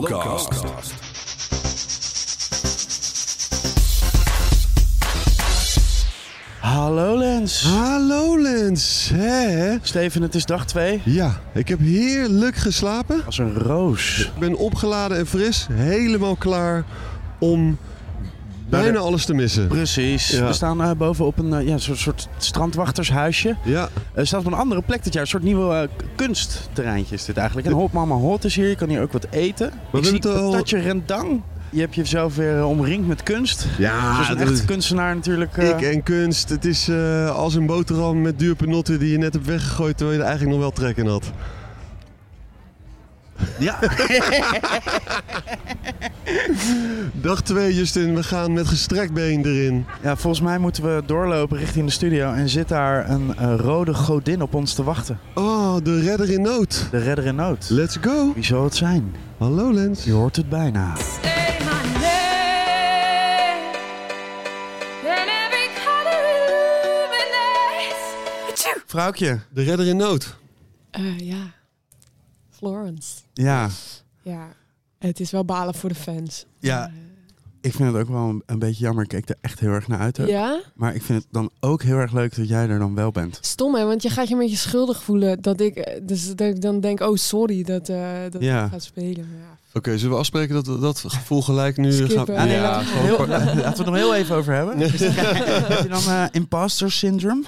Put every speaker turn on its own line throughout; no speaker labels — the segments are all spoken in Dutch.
Lowcast.
Hallo Lens.
Hallo Lens, hè?
Steven, het is dag 2.
Ja, ik heb heerlijk geslapen.
Als een roos.
Ik ben opgeladen en fris, helemaal klaar
Nou,
om bijna alles te missen.
Precies.
Ja.
We staan eh, boven op een eh, ja, soort, soort strandwachtershuisje.
Ja,
Er staat op een andere plek dit jaar. Een soort nieuw eh, k- kunstterreintje is dit eigenlijk. En Hot Mama Hot is hier. Je kan hier ook wat eten.
we
Ik zie
hebben het al-
patatje rendang. Je hebt jezelf weer eh, omringd met kunst.
ja
Zoals een echte kunstenaar natuurlijk. eh,
ik en kunst. Het is eh, als een boterham met duur penotten die je net hebt weggegooid terwijl je er eigenlijk nog wel trek in had.
Ja.
Dag 2 Justin, we gaan met gestrekt been erin.
ja, volgens mij moeten we doorlopen richting de studio. En zit daar een eh, rode godin op ons te wachten.
Oh, de redder in nood.
De redder in nood.
Let's go.
Wie zou het zijn?
Hallo Lens.
Je hoort het bijna.
Say my name, and every color illuminates.
Vrouwtje.
De redder in nood.
Eh, ja, Florence.
Ja.
Ja, het is wel balen voor de fans.
Ja, ik vind het ook wel een, een beetje jammer. Ik keek er echt heel erg naar uit. hè.
Ja?
Maar ik vind het dan ook heel erg leuk dat jij er dan wel bent.
Stom hè, want je gaat je een beetje schuldig voelen dat ik, eh, dus dat ik dan denk, oh sorry dat, eh dat
Ja.
ik ga spelen. Maar ja.
Oké, zullen we afspreken dat we dat gevoel gelijk nu
Skippen.
gaan...
Ja, nee,
Ja,
laten
gewoon
Heel,
pa-
Ah, laten we het nog heel even over hebben. Is dat- Heb je dan eh, imposter syndrome?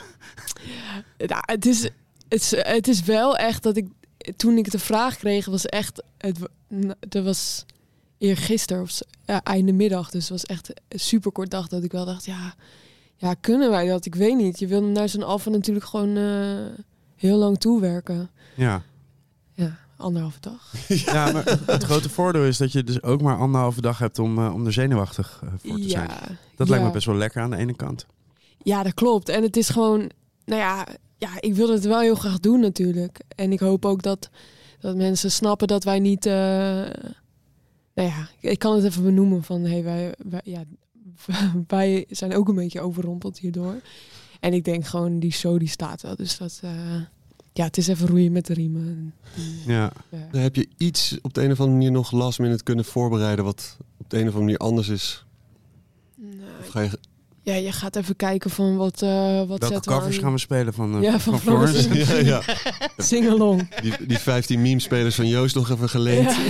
Nou, het, is, het, is, het is wel echt dat ik, toen ik de vraag kreeg, was echt, het, wa- nou, dat was eergisteren of zo, ja, einde middag, dus het was echt een superkort dag dat ik wel dacht, ja, ja, kunnen wij dat? Ik weet niet. Je wil naar zo'n alfa natuurlijk gewoon eh, heel lang toewerken.
Ja.
Ja, anderhalve dag.
ja, maar het grote voordeel is dat je dus ook maar anderhalve dag hebt om, eh, om er zenuwachtig eh, voor te zijn. Dat lijkt me best wel lekker aan de ene kant.
Ja, dat klopt. En het is gewoon, nou ja, ja, ik wil het wel heel graag doen natuurlijk. En ik hoop ook dat, dat mensen snappen dat wij niet, eh, nou ja, ik kan het even benoemen van, hey, wij, wij, ja, wij zijn ook een beetje overrompeld hierdoor. En ik denk gewoon, die show die staat wel. Dus dat, eh, ja, het is even roeien met de riemen.
Ja.
Ja.
Dan Eh, heb je iets op de een of andere manier nog last minute kunnen voorbereiden wat op de een of andere manier anders is. Of ga je...
ja, je gaat even kijken van wat, eh wat
Welke
zetten we
covers
aan-
gaan we spelen van, eh
Ja, van Florence.
ja, ja.
Sing along.
Die, die 15 meme-spelers van Joost nog even geleend.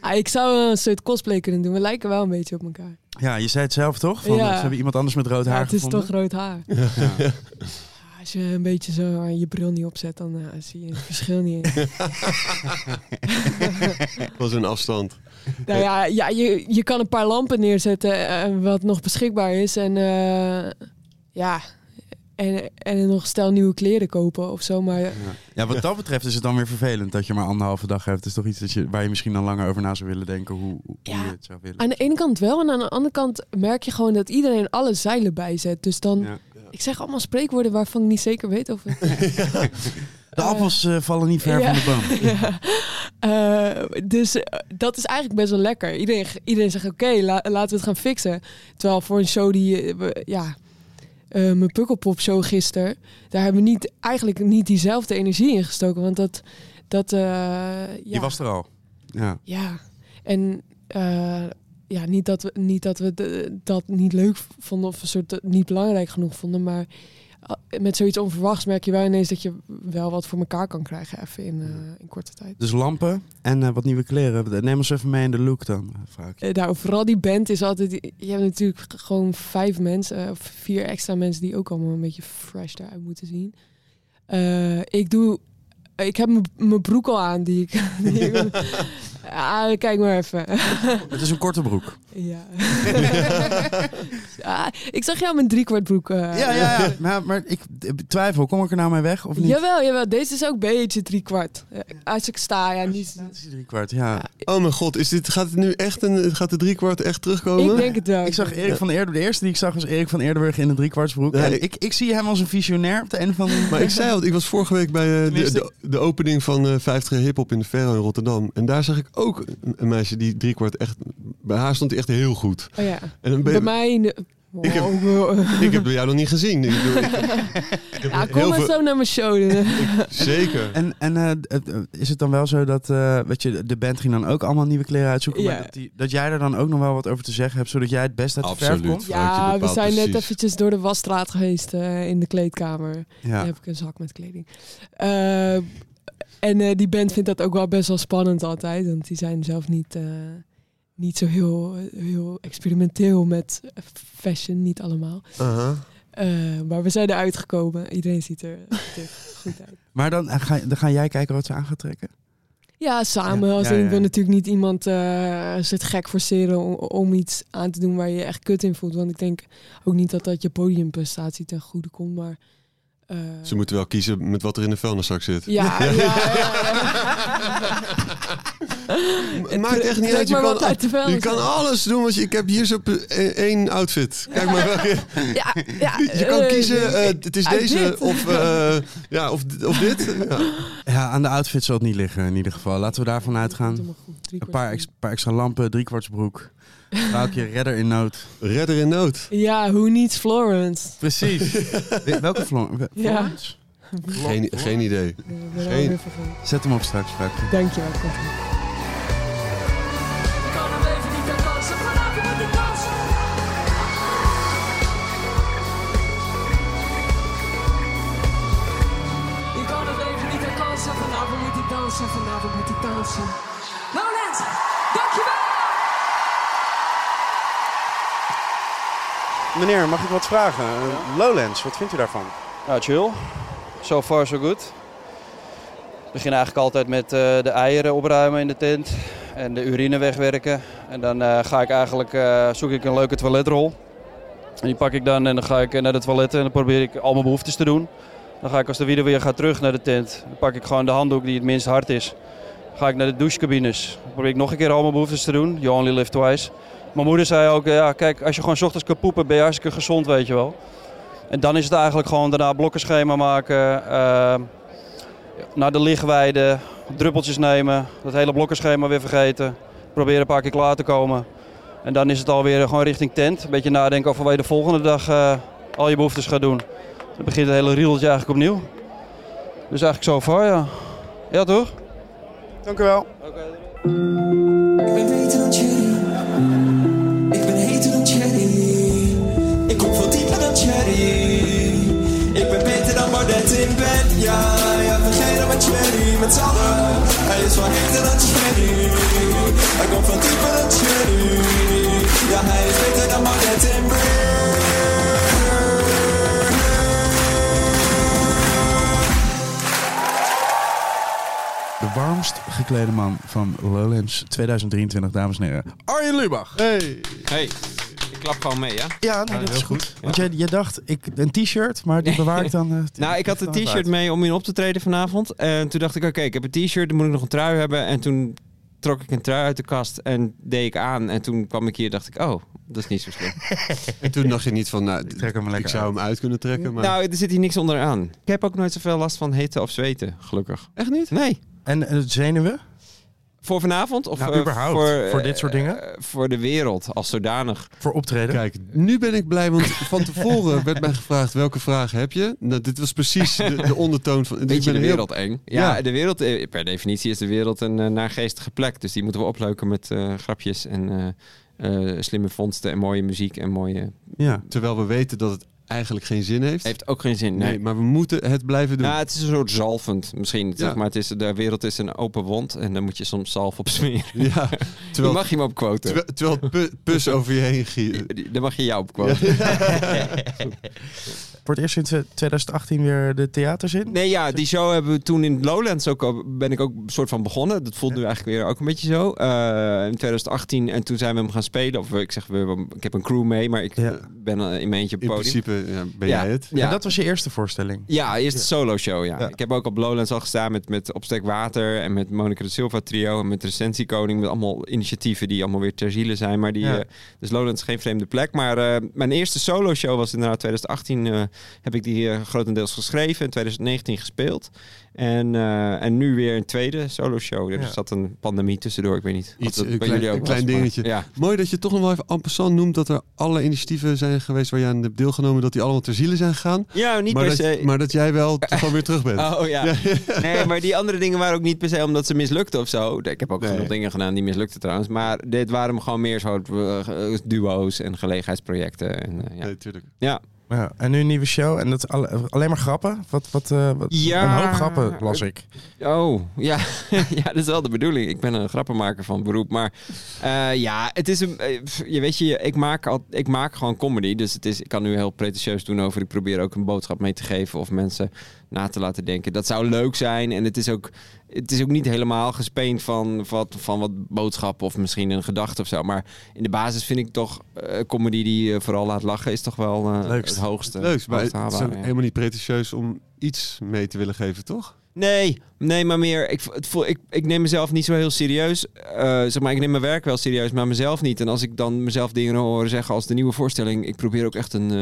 Ah, ik zou een soort cosplay kunnen doen. We lijken wel een beetje op elkaar.
Ja, je zei het zelf toch? Van,
Ja.
Ze hebben iemand anders met rood
Ja,
haar
het is
gevonden.
toch rood haar.
Ja.
Ja, Als je een beetje zo aan je bril niet opzet, dan eh, zie je het verschil niet. eens.
Dat was een afstand.
nou ja, ja je, je kan een paar lampen neerzetten eh, wat nog beschikbaar is. En eh, ja, en, en nog stel nieuwe kleren kopen of zo. Maar
Ja. Ja, wat dat betreft is het dan weer vervelend dat je maar anderhalve dag hebt. Het is toch iets dat je, waar je misschien dan langer over na zou willen denken hoe, hoe
Ja.
je het zou willen.
aan de ene kant wel. En aan de andere kant merk je gewoon dat iedereen alle zeilen bijzet. Dus dan,
Ja.
ik zeg allemaal spreekwoorden waarvan ik niet zeker weet of het...
De appels eh, vallen niet ver van
Ja.
de boom.
Ja. Eh, dus eh, dat is eigenlijk best wel lekker. Iedereen, iedereen zegt: oké, la- laten we het gaan fixen. Terwijl voor een show die, eh, we- ja, eh, mijn Pukkelpop show gisteren, daar hebben we niet, eigenlijk niet diezelfde energie in gestoken. Want dat, dat eh, ja,
Je was er al. Ja.
ja. En eh, ja, niet dat we, niet dat, we de- dat niet leuk vonden of een soort eh, niet belangrijk genoeg vonden, maar eh, met zoiets onverwachts merk je wel ineens dat je wel wat voor elkaar kan krijgen even in, eh, in korte tijd.
Dus lampen en eh, wat nieuwe kleren. Neem ons even mee in de look dan, eh, vrouwtje.
Eh, Nou, vooral die band is altijd. Je hebt natuurlijk g- gewoon vijf mensen, eh, of vier extra mensen die ook allemaal een beetje fresh eruit moeten zien. Eh, ik doe. Ik heb mijn- mijn broek al aan die ik. Die ik- Ah, kijk maar even.
Het is een korte broek.
ja. Ah, ik zag jou mijn driekwart broek. eh.
Ja, ja, ja. Maar, maar ik eh, twijfel, kom ik er nou mee weg of niet?
Jawel, jawel. Deze is ook een beetje driekwart. Eh, Als ik sta, ja, niet.
Het is drie kwart, ja.
Oh mijn god, is dit, gaat het nu echt een, gaat de driekwart echt terugkomen?
Ik denk het wel.
Ik zag Erik van Eerder, de eerste die ik zag was Erik van Eerderburg in een driekwartsbroek.
Ja,
en
ik-
ik, ik zie hem als een visionair op de een of andere
Maar ik zei al, ik was vorige week bij eh, de,
Tenminste-
de, de opening van eh 50 jaar Hip-Hop in de Ferro in Rotterdam. En daar zag ik ook een, een meisje die driekwart echt... Bij haar stond hij echt heel goed.
Oh, ja.
En dan ben
Bij
je-
mij.
Ik heb-
Wow.
Ik heb jou nog niet gezien. Ik bedoel, ik heb- ik heb
ja,
heel
kom maar
veel-
zo naar mijn show.
Zeker.
En, en eh, d- eh, is het dan wel zo dat eh, weet je, de band ging dan ook allemaal nieuwe kleren uitzoeken?
Ja.
Maar dat, die, dat jij er dan ook nog wel wat over te zeggen hebt, zodat jij het best uit de verf
Absoluut.
komt?
Vrouwtje
ja, we
bepaalt
zijn net
precies.
eventjes door de wasstraat geweest eh, in de kleedkamer.
Ja.
Daar heb ik een zak met kleding. Eh, en eh, die band vindt dat ook wel best wel spannend altijd. Want die zijn zelf niet, eh, niet zo heel, heel experimenteel met fashion. Niet allemaal.
Aha.
Eh, maar we zijn eruit gekomen. Iedereen ziet er, ziet er goed uit.
Maar dan, eh, ga, dan ga jij kijken wat ze aan gaat trekken?
Ja, samen.
Ja,
Als
ja,
in,
ja,
Ik wil
ja.
natuurlijk niet iemand eh zit gek forceren om, om iets aan te doen waar je je echt kut in voelt. Want ik denk ook niet dat dat je podiumprestatie ten goede komt. Maar eh,
Ze moeten wel kiezen met wat er in de vuilniszak zit.
ja, ja, ja,
Het maakt echt niet
Trek
uit. Je
maar
kan,
wat uit de
je
vuilnis.
kan alles doen, want je, ik heb hier zo pe- eh, één outfit. Kijk maar welke.
Ja, ja,
Je kan
eh,
kiezen, eh,
ik-
het is
uit
deze
dit.
of, eh, ja, of, d- of dit. Ja.
Ja, aan de outfit zal het niet liggen in ieder geval. Laten we daarvan
Doe
uitgaan.
maar goed, drie
Een
kwart
paar,
goed.
ex- paar extra lampen, driekwarts broek. Vrouwtje, redder in nood.
Redder in nood.
Ja, who needs Florence?
Precies. Welke Flor- we-
Ja.
Florence?
Geen, geen idee.
Eh, we zijn
Geen-
alweer vergeten.
Zet hem op straks, vrouwtje.
Dankjewel. Katrin.
Ik kan hem even niet aan dansen, vandaag moet ik dansen. Ik kan hem even niet aan dansen, vanavond moet ik dansen, vanavond moet ik dansen. Lowlands, dankjewel!
Meneer, mag ik wat vragen? Eh, Lowlands, wat vindt u daarvan?
Ja, Nou, chill. So far so good. Ik begin eigenlijk altijd met eh, de eieren opruimen in de tent en de urine wegwerken. En dan eh, ga ik eigenlijk, eh, zoek ik een leuke toiletrol. En die pak ik dan en dan ga ik naar de toiletten en dan probeer ik al mijn behoeftes te doen. Dan ga ik als de wieder weer gaat terug naar de tent. Dan pak ik gewoon de handdoek die het minst hard is. Dan ga ik naar de douchecabines. Dan probeer ik nog een keer al mijn behoeftes te doen. You only live twice. Mijn moeder zei ook, eh, ja, kijk, als je gewoon 's ochtends kan poepen ben je hartstikke gezond, weet je wel. En dan is het eigenlijk gewoon daarna blokkenschema maken, eh, naar de lichtweide, druppeltjes nemen, dat hele blokkenschema weer vergeten, proberen een paar keer klaar te komen. En dan is het alweer gewoon richting tent, een beetje nadenken over waar je de volgende dag eh, al je behoeftes gaat doen. Dan begint het hele riedeltje eigenlijk opnieuw. Dus eigenlijk zo far, ja. Ja, toch?
Dank u wel.
Ik ben heter dan Cherry. Ik ben heter dan Cherry. Ik kom veel dieper dan Cherry. Ik ben beter dan Bardet in bed. Ja, ja, vergeet dan met Cherry. Met z'n allen. Hij is wel heter dan Cherry. Hij komt veel dieper dan Cherry. Ja, hij is beter dan Bardet in bed.
De warmst geklede man van Lowlands 2023, dames en heren. Arjen Lubach.
Hey.
Hey, ik klap gewoon mee, ja? Ja,
Ja, nee, dat
heel
is goed.
goed.
Want
Ja.
jij, jij dacht, ik, een t-shirt, maar die bewaar ik dan... eh,
Nou, ik had een
vanaf
t-shirt
uit.
mee om in op te treden vanavond. En toen dacht ik, oké, ik heb een t-shirt, dan moet ik nog een trui hebben. En toen trok ik een trui uit de kast en deed ik aan. En toen kwam ik hier dacht ik, oh, dat is niet zo slim.
En toen dacht je niet van, nou,
Ik trek hem
ik
lekker
zou
uit.
hem uit kunnen trekken. Maar
Nou, er zit hier niks onderaan. Ik heb ook nooit zoveel last van hitte of zweten, gelukkig.
echt niet?
Nee.
En eh, zenuwen?
Voor vanavond? Of
Nou,
eh,
überhaupt.
Voor,
Voor dit soort
eh,
dingen?
eh, voor de wereld, als zodanig.
Voor optreden?
Kijk, nu ben ik blij, want van tevoren werd mij gevraagd welke vraag heb je. Nou, dit was precies de, de ondertoon van... ik
Weet je
ben
de
heel-
wereld eng? Ja,
Ja.
de wereld, eh, per definitie is de wereld een eh, naargeestige plek. Dus die moeten we opleuken met eh, grapjes en eh, eh, slimme vondsten en mooie muziek en mooie...
Ja.
Terwijl we weten dat het eigenlijk geen zin heeft.
Heeft ook geen zin,
nee.
nee.
maar we moeten het blijven doen.
Ja, het is een soort zalvend misschien. Zeg
Ja.
maar, het is, de wereld is een open wond en daar moet je soms zalf op smeren.
Ja,
Dan
terwijl,
mag je hem op quoten.
terwijl, terwijl het pu- pus over je heen giet.
Dan mag je jou op quoten.
Voor het eerst sinds eh, 2018 weer de theaters in?
Nee, ja, die show hebben we toen in Lowlands ook al, ben ik ook een soort van begonnen. Dat voelt nu eigenlijk weer ook een beetje zo. Eh, in 2018 en toen zijn we hem gaan spelen. Of we- ik zeg, we, ik heb een crew mee, maar ik
Ja.
eh, ben eh, in mijn eentje op
In
het podium.
principe ja, ben
Ja.
jij het.
Ja.
En dat was je eerste voorstelling?
Ja, eerst de solo show. Ja.
Ja.
Ik heb ook op Lowlands al gestaan met, met Opstek Water en met Monica de Silva Trio en met Recensiekoning. Met allemaal initiatieven die allemaal weer ter ziele zijn. Maar die,
Ja.
eh, dus Lowlands is geen vreemde plek. Maar eh, mijn eerste solo show was inderdaad 2018 eh, heb ik die eh, grotendeels geschreven. In 2019 gespeeld. En, eh, en nu weer een tweede solo show. dus Er
Ja.
zat een pandemie tussendoor, ik weet niet. of
Iets,
dat
een
bij
klein-
jullie ook
een klein
was, maar-
dingetje.
Ja.
Mooi dat je toch nog wel even en passant noemt dat er alle initiatieven zijn geweest waar jij aan hebt deelgenomen, dat die allemaal ter ziele zijn gegaan.
ja, niet
maar,
per
dat,
se.
maar dat jij wel toch gewoon weer terug bent.
Oh ja. Nee, maar die andere dingen waren ook niet per se omdat ze mislukten of zo. Ik heb ook
Nee.
genoeg dingen gedaan die mislukten trouwens. Maar dit waren gewoon meer zo eh, duo's en gelegenheidsprojecten. En, eh, ja.
Nee, tuurlijk.
ja.
Ja, en nu een nieuwe show. En dat is alle- alleen maar grappen. Wat, wat, eh, wat,
Ja.
Een hoop grappen las ik.
Oh, ja. ja, dat is wel de bedoeling. Ik ben een grappenmaker van beroep. Maar eh, ja, het is een. eh, pff, Je weet je, ik maak, al, ik maak gewoon comedy. Dus het is, ik kan nu heel pretentieus doen over. Ik probeer ook een boodschap mee te geven of mensen na te laten denken. Dat zou leuk zijn. En het is ook, het is ook niet helemaal gespeend van wat, van wat boodschappen of misschien een gedachte of zo. Maar in de basis vind ik toch eh, comedy die je vooral laat lachen is toch wel eh,
Leukst.
het hoogste.
Leuks, maar het
hoogste
is
haalbare,
ook
ja.
helemaal niet pretentieus om iets mee te willen geven, toch?
Nee, nee, maar meer. Ik, het voel, ik, ik neem mezelf niet zo heel serieus. Eh, zeg maar, ik neem mijn werk wel serieus, maar mezelf niet. En als ik dan mezelf dingen hoor zeggen als de nieuwe voorstelling, ik probeer ook echt een, eh,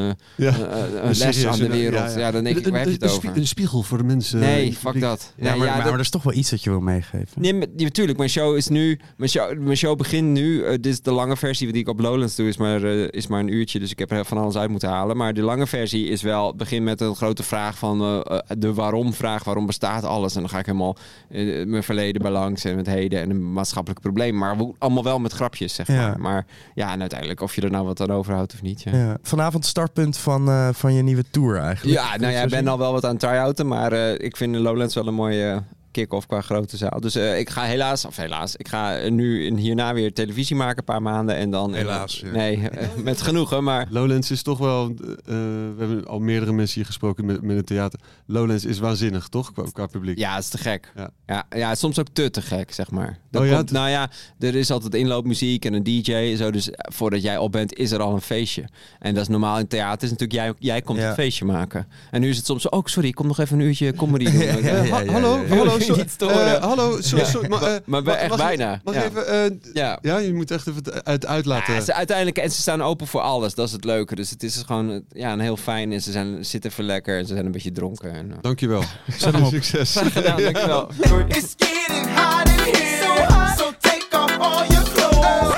Ja.
eh, eh, een les aan de wereld. Ja, dan denk ik, waar heb je het over?
Een spiegel voor de mensen.
Nee, fuck dat.
eh, Ja,
Nee,
maar,
ja,
maar,
dat-
er is toch wel iets dat je wil meegeven.
Nee, maar- ja, natuurlijk. Mijn show is nu. Mijn show, mijn show begint nu. Eh, dit is de lange versie die ik op Lowlands doe, is maar, eh, is maar een uurtje. Dus ik heb er van alles uit moeten halen. Maar de lange versie is wel. Begin met een grote vraag van eh, eh, de waarom-vraag. Waarom bestaat alles? En dan ga ik helemaal eh, mijn verleden bij langs en het heden en een maatschappelijk probleem. Maar we- allemaal wel met grapjes, zeg
Ja.
maar. Maar ja, en uiteindelijk, of je er nou wat aan overhoudt of niet. Ja.
Ja. Vanavond startpunt van, eh, van je nieuwe tour eigenlijk.
Ja, nou ja, ik ben al wel wat aan het try-outen, maar eh, ik vind de Lowlands wel een mooie eh, kick-off qua grote zaal. Dus eh, ik ga helaas, of helaas, ik ga eh, nu en hierna weer televisie maken een paar maanden en dan...
Helaas, ja.
Nee, eh, met genoegen, maar...
Lowlands is toch wel... eh, eh, we hebben al meerdere mensen hier gesproken met, met het theater. Lowlands is waanzinnig, toch? Qua, qua publiek.
Ja, het is te gek.
Ja.
Ja. Ja, soms ook te te gek, zeg maar. Dat
Oh ja,
komt,
het-
nou ja, er is altijd inloopmuziek en een DJ en zo. Dus eh, voordat jij op bent, is er al een feestje. En dat is normaal in theater. Is natuurlijk jij, jij komt
Ja.
een feestje maken. En nu is het soms zo, oh sorry, ik kom nog even een uurtje comedy doen.
Ja, ja,
Eh,
ja.
ha- hallo,
ja.
hallo,
Wil je
sorry.
niet storen?
Eh, hallo, sorry, sorry, maar, eh,
Maar
mag-
echt
mag-
bijna.
Mag
Ja.
even... eh,
Ja.
ja, je moet echt even het uit, uitlaten.
Ja, ze, uiteindelijk, en ze staan open voor alles. Dat is het leuke. Dus het is gewoon eh, ja, een heel fijn. En ze zijn, zitten even lekker. En ze zijn een beetje dronken. En, eh.
Dankjewel.
Zet hem op.
Succes.
Gedaan, dankjewel. Doei.
It's getting hot in here, so, hot. so take off all your clothes.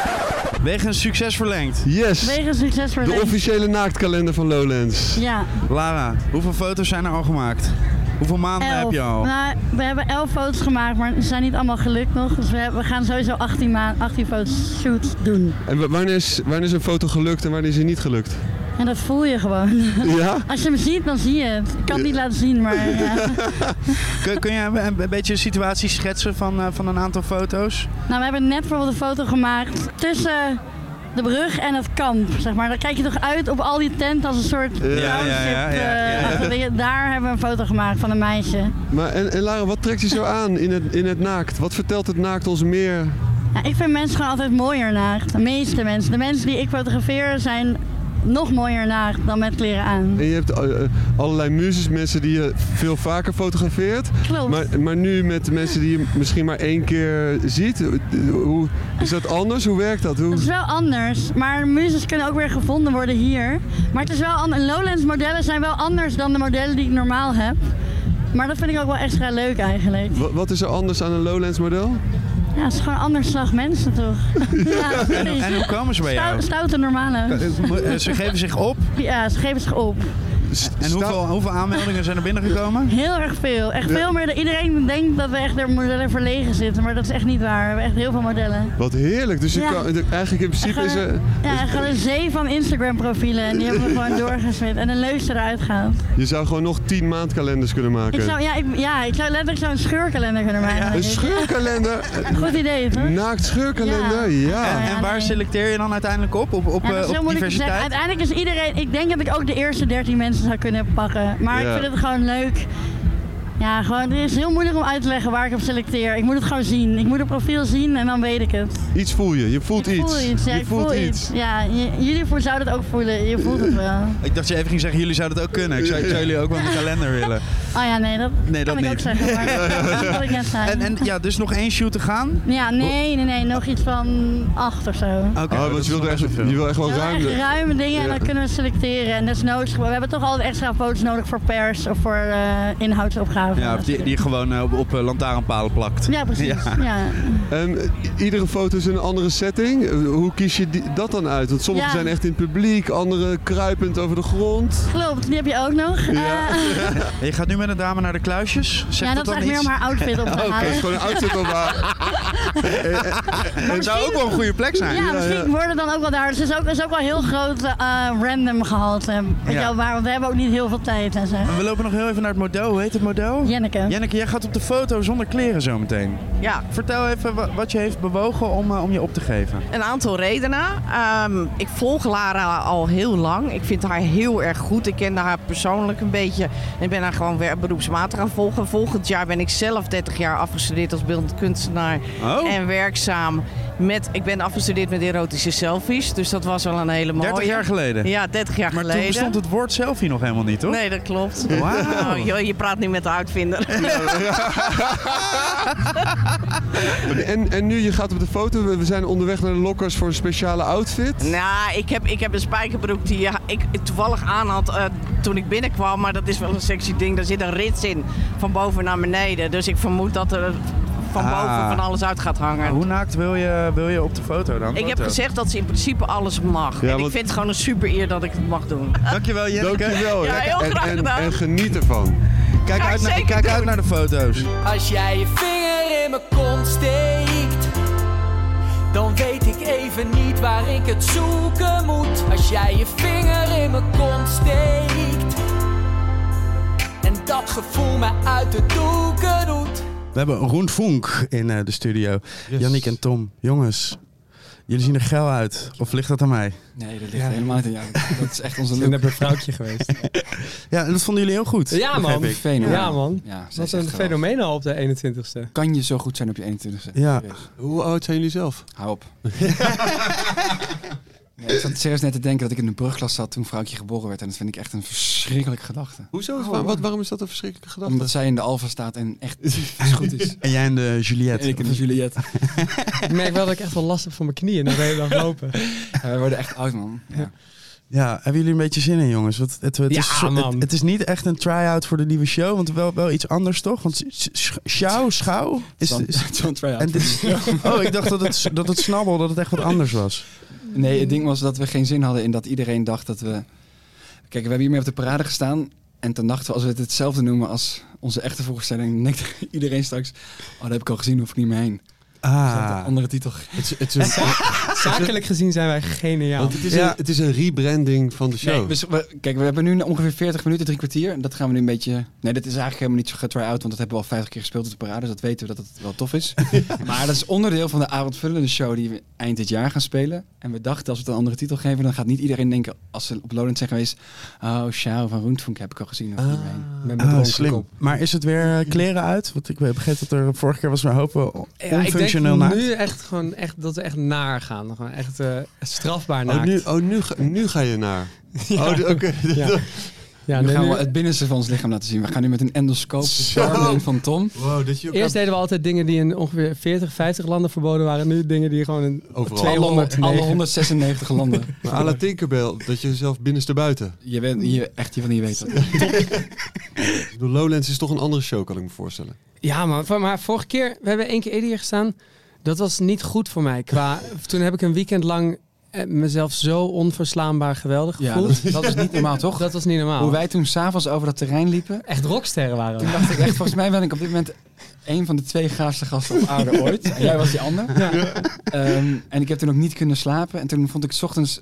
Wegens succes verlengd.
Yes,
Wegen succes voor
de
Leen.
officiële naaktkalender van Lowlands.
Ja,
Lara, hoeveel foto's zijn er al gemaakt? Hoeveel maanden
elf.
heb je al?
Nou, we hebben elf foto's gemaakt, maar ze zijn niet allemaal gelukt nog. Dus we, hebben- we gaan sowieso 18, ma- 18 foto's shoots doen.
En wa- wanneer is, wanneer is een foto gelukt en wanneer is hij niet gelukt?
En dat voel je gewoon.
Ja?
Als je hem ziet, dan zie je het. Ik kan het niet laten zien, maar ja.
Kun, kun jij een, een beetje een situatie schetsen van, eh, van een aantal foto's?
Nou, we hebben net bijvoorbeeld een foto gemaakt tussen de brug en het kamp, zeg maar. Dan kijk je toch uit op al die tenten als een soort
ja, ja, ja, ja.
roundtrip, eh, Daar hebben we een foto gemaakt van een meisje.
Maar en, en Lara, wat trekt je zo aan in het, in het naakt? Wat vertelt het naakt ons meer?
Ja, ik vind mensen gewoon altijd mooier naakt. De meeste mensen. De mensen die ik fotografeer zijn nog mooier naakt dan met kleren aan.
En je hebt eh, eh, allerlei muzes, mensen die je veel vaker fotografeert.
Klopt.
Maar, maar nu met de mensen die je misschien maar één keer ziet. eh, Hoe, is dat anders? Hoe werkt dat? Hoe,
Het is wel anders, maar muzes kunnen ook weer gevonden worden hier. Maar het is wel anders. Lowlands modellen zijn wel anders dan de modellen die ik normaal heb. Maar dat vind ik ook wel extra leuk eigenlijk.
wa- wat is er anders aan een Lowlands model?
Ja, het is gewoon een ander slag mensen toch? ja, Ah, precies.
En hoe komen ze bij
Stou-
jou?
stoute normale.
Eh, mo- eh, Ze geven zich op.
Ja, ze geven zich op.
En hoeveel, hoeveel aanmeldingen zijn er binnengekomen?
Heel erg veel. Echt veel meer dan iedereen denkt dat we echt door modellen verlegen zitten. Maar dat is echt niet waar. We hebben echt heel veel modellen.
Wat heerlijk. Dus je
Ja.
kan, eigenlijk in principe is er,
Ja, gewoon een zee van Instagram profielen. En die hebben we gewoon doorgesmit. En de leukste eruit gehaald.
je zou gewoon nog tien maandkalenders kunnen maken.
Ik zou, ja, ik, ja, ik zou letterlijk zo'n scheurkalender kunnen maken.
Een
denk ik.
scheurkalender.
Goed idee, toch?
Een naakt scheurkalender, ja.
Ja.
En waar selecteer je dan uiteindelijk op? Op, op,
Ja,
eh,
dus dat is heel
op
moeilijk te zeggen.
diversiteit?
Uiteindelijk is iedereen... Ik denk dat ik ook de eerste 13 mensen zou kunnen pakken. Maar
Ja.
ik vind het gewoon leuk. Ja, gewoon, het is heel moeilijk om uit te leggen waar ik op selecteer. Ik moet het gewoon zien. Ik moet het profiel zien en dan weet ik het.
Iets voel je. Je voelt
Ik
iets.
voel iets. Ja,
je
ik
voelt
voel
iets.
Ja, j- jullie vo- zouden het ook voelen. Je voelt het wel.
Ik dacht je even ging zeggen, jullie zouden het ook kunnen. Ik zou, ik zou jullie ook wel een kalender willen.
Oh ja, nee, dat
Nee,
kan
dat
ik ook
niet.
zeggen. Maar dat had ik net zei.
En, en ja, dus nog één shoot te gaan?
Ja, nee, nee, nee. Nog iets van acht of zo.
Oké, dat
Oh, want
is
je wil,
nog
echt,
best wel
je wil echt wel
We hebben
ruim.
echt ruime dingen en
Ja.
dan kunnen we selecteren. En desnoods, we hebben toch altijd extra foto's nodig voor pers of voor eh, inhoudsopgaven.
Ja, of die, die je gewoon eh, op, op eh, lantaarnpalen plakt.
ja precies. Ja. Ja.
Ehm, iedere foto is in een andere setting. Eh, Hoe kies je die- dat dan uit? Want sommige
Ja.
zijn echt in het publiek, andere kruipend over de grond.
Klopt, die heb je ook nog.
Ja.
Eh,
En je gaat nu met een dame naar de kluisjes? Zegt
ja, dat is
dan
echt
iets?
meer om haar outfit op te
Dat
halen.
is gewoon een outfit op haar.
Eh, Het zou ook wel een goede plek zijn.
Ja, misschien worden dan ook wel daar. Dus het is ook, is ook wel een heel groot eh, random gehalte. Weet
Ja.
je wel, waar, want we hebben ook niet heel veel tijd en zo.
We lopen nog heel even naar het model. Hoe heet het model?
Jenneke.
Jenneke, jij gaat op de foto zonder kleren zometeen.
Ja,
Vertel even wa- wat je heeft bewogen om, eh, om je op te geven.
een aantal redenen. Ehm, ik volg Lara al heel lang. Ik vind haar heel erg goed. Ik kende haar persoonlijk een beetje. En ik ben haar gewoon weer beroepsmatig gaan volgen. Volgend jaar ben ik zelf 30 jaar afgestudeerd als beeldend kunstenaar.
Oh,
En werkzaam met... Ik ben afgestudeerd met erotische selfies. Dus dat was wel een hele mooie.
30 jaar geleden.
Ja, 30 jaar
maar
geleden.
toen bestond het woord selfie nog helemaal niet, toch?
Nee, dat klopt.
Wauw.
Oh, je, je praat nu met de uitvinder.
En, en nu, je gaat op de foto. We we zijn onderweg naar de lokkers voor een speciale outfit.
Nou, ik heb, ik heb een spijkerbroek die ja, ik toevallig aan had eh, toen ik binnenkwam. Maar dat is wel een sexy ding. Daar zit een rits in van boven naar beneden. Dus ik vermoed dat er van
Ah.
boven van alles uit gaat hangen.
Hoe naakt wil je, wil je op de foto dan?
ik heb
Foto.
gezegd dat ze in principe alles mag. en
want-
ik vind het gewoon een super eer dat ik het mag doen.
Dankjewel Jenneke.
Dankjewel.
Ja, heel
en,
graag
en,
gedaan.
en geniet ervan.
Kijk,
Ga ik
uit naar,
zeker
kijk uit
doen.
naar de foto's.
Als jij je vinger in mijn kont steekt, dan weet ik even niet waar ik het zoeken moet. Als jij je vinger in mijn kont steekt, en dat gevoel mij uit de doeken doet.
We hebben Roen Vonk in eh, de studio. Yannick en Tom, jongens. Jullie zien er geil uit. Of ligt dat aan mij?
Nee, dat ligt helemaal niet aan jou. Dat is echt onze look.
een vrouwtje geweest.
Ja, en dat vonden jullie heel goed.
Ja
begreep
man,
ik.
fenomenaal.
Ja, man.
Ja, ze
Wat
is
een
echt geweldig.
fenomeen al op de 21ste.
Kan je zo goed zijn op je 21ste?
Ja.
Serieus.
Hoe oud zijn jullie zelf?
Hou op. nee, ik zat serieus net te denken dat ik in de brugklas zat toen vrouwtje geboren werd. En dat vind ik echt een verschrikkelijke gedachte.
Hoezo?
Oh,
Wa- wat,
waar-
waarom is dat een verschrikkelijke gedachte?
Omdat zij in de alfa staat en echt iets goed is.
En jij en de Juliette.
En ik en de Juliette.
Ik merk wel dat ik echt wel last heb van mijn knieën na de hele dag lopen.
Ja, we worden echt oud man. Ja.
Ja, hebben jullie een beetje zin in, jongens? Want het, het,
Ja,
is, zo-
man.
Het, het is niet echt een try-out voor de nieuwe show, want wel, wel iets anders toch? Want s- s- schouw, schouw? Is,
John,
is-
John Tryout.
en dit is- oh, ik dacht dat het, dat het snabbel, dat het echt wat anders was.
Nee, het ding was dat we geen zin hadden in dat iedereen dacht dat we... Kijk, we hebben hiermee op de parade gestaan. En toen dachten we, als we het hetzelfde noemen als onze echte voorstelling... dan denkt iedereen straks, oh, dat heb ik al gezien, hoef ik niet meer heen.
Ah,
Een andere titel.
Zakelijk gezien zijn wij geniaal.
Want het is,
Ja.
een, het is een rebranding van de
Nee,
show.
we, we- kijk, we hebben nu ongeveer 40 minuten, drie kwartier. En dat gaan we nu een beetje... Nee, dat is eigenlijk helemaal niet zo getry-out, want dat hebben we al 50 keer gespeeld op de parade. Dus dat weten we dat het wel tof is. Maar dat is onderdeel van de avondvullende show die we eind dit jaar gaan spelen. En we dachten, als we het een andere titel geven, dan gaat niet iedereen denken... als ze op Lowland zijn geweest... Oh, Sjouw van Roentvonk heb ik al gezien. Of niet meer heen. Met mijn
ah,
dronken
slim.
kop.
Maar is het weer eh, kleren uit? Want ik begreep dat er vorige keer was, maar hopen
Ja, ik denk
onfunctioneel naakt.
nu echt gewoon echt, dat we echt naar gaan. Gewoon echt eh, strafbaar
oh,
naakt.
nu, oh nu, ga, nu ga je naar. Oh, d- oké.
Ja. Ja,
nu
nee,
gaan
nu-
we het binnenste van ons lichaam laten zien. We gaan nu met een endoscoop de darmleen van Tom.
Wow, dat je
Eerst deden we altijd dingen die in ongeveer 40, 50 landen verboden waren. Nu dingen die gewoon in
Overal.
200
Alle, alle 196 landen.
Maar à la Tinkerbell, dat je zelf binnenstebuiten.
Je bent je, echt je van niet weet dat.
Ik bedoel, Lowlands is toch een andere show, kan ik me voorstellen.
Ja, man. van- Maar vorige keer, we hebben één keer eerder hier gestaan. Dat was niet goed voor mij. Qua, toen heb ik een weekend lang eh, mezelf zo onverslaanbaar geweldig
Ja,
gevoeld.
dat, dat is niet normaal, toch?
dat, was niet normaal.
Hoe wij toen s'avonds over dat terrein liepen,
Echt rocksterren waren
toen
we.
dacht ik echt, volgens mij ben ik op dit moment een van de twee gaafste gasten op aarde ooit. En jij was die ander. Ehm, en ik heb toen ook niet kunnen slapen. En toen vond ik 's ochtends,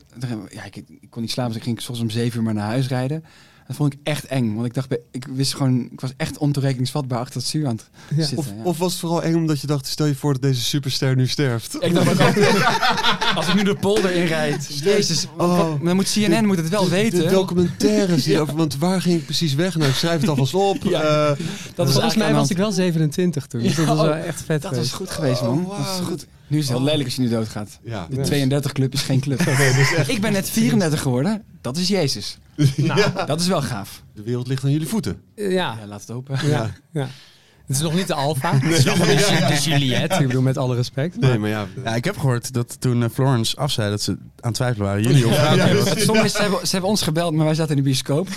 ja, ik, ik kon niet slapen, dus ik ging 's ochtends om zeven uur maar naar huis rijden. Dat vond ik echt eng, want ik dacht, bij- ik wist gewoon, ik was echt ontoerekeningsvatbaar achter het stuur aan het zitten.
Of,
ja.
of was het vooral eng omdat je dacht, stel je voor dat deze superster nu sterft.
Ik dacht, ook, als ik nu de polder inrijd, jezus, wat-
Oh.
wat- dan moet CNN moet het wel
De-
weten.
De documentaires die over, want waar ging ik precies weg? Nou, ik schrijf het alvast op.
Ja.
Eh,
Dat was
Volgens
eigenlijk aan
mij
de
was
hand.
ik wel 27 toen. dus dat was
Ja,
wel
oh,
echt
Dat
vet
was
geweest.
goed geweest, man.
oh, wauw,
dat is goed. Nu is het heel lelijk als je nu doodgaat.
Ja.
De 32 club is geen club.
dus
Ik ben net 34 geworden. Dat is Jezus. Nou, dat is wel gaaf.
De wereld ligt aan jullie voeten.
Eh, Ja.
Ja, laat het open.
Ja. ja. Het is nog niet de Alfa. Het is nog niet de, de Juliette. dus Ik bedoel, met alle respect.
Nee, maar ja.
Ja, ik heb gehoord dat toen eh, Florence afzei dat ze aan het twijfelen waren. Jullie of vrouw.
Ja, het stomme is, ze hebben, ze hebben ons gebeld, maar wij zaten in de bioscoop.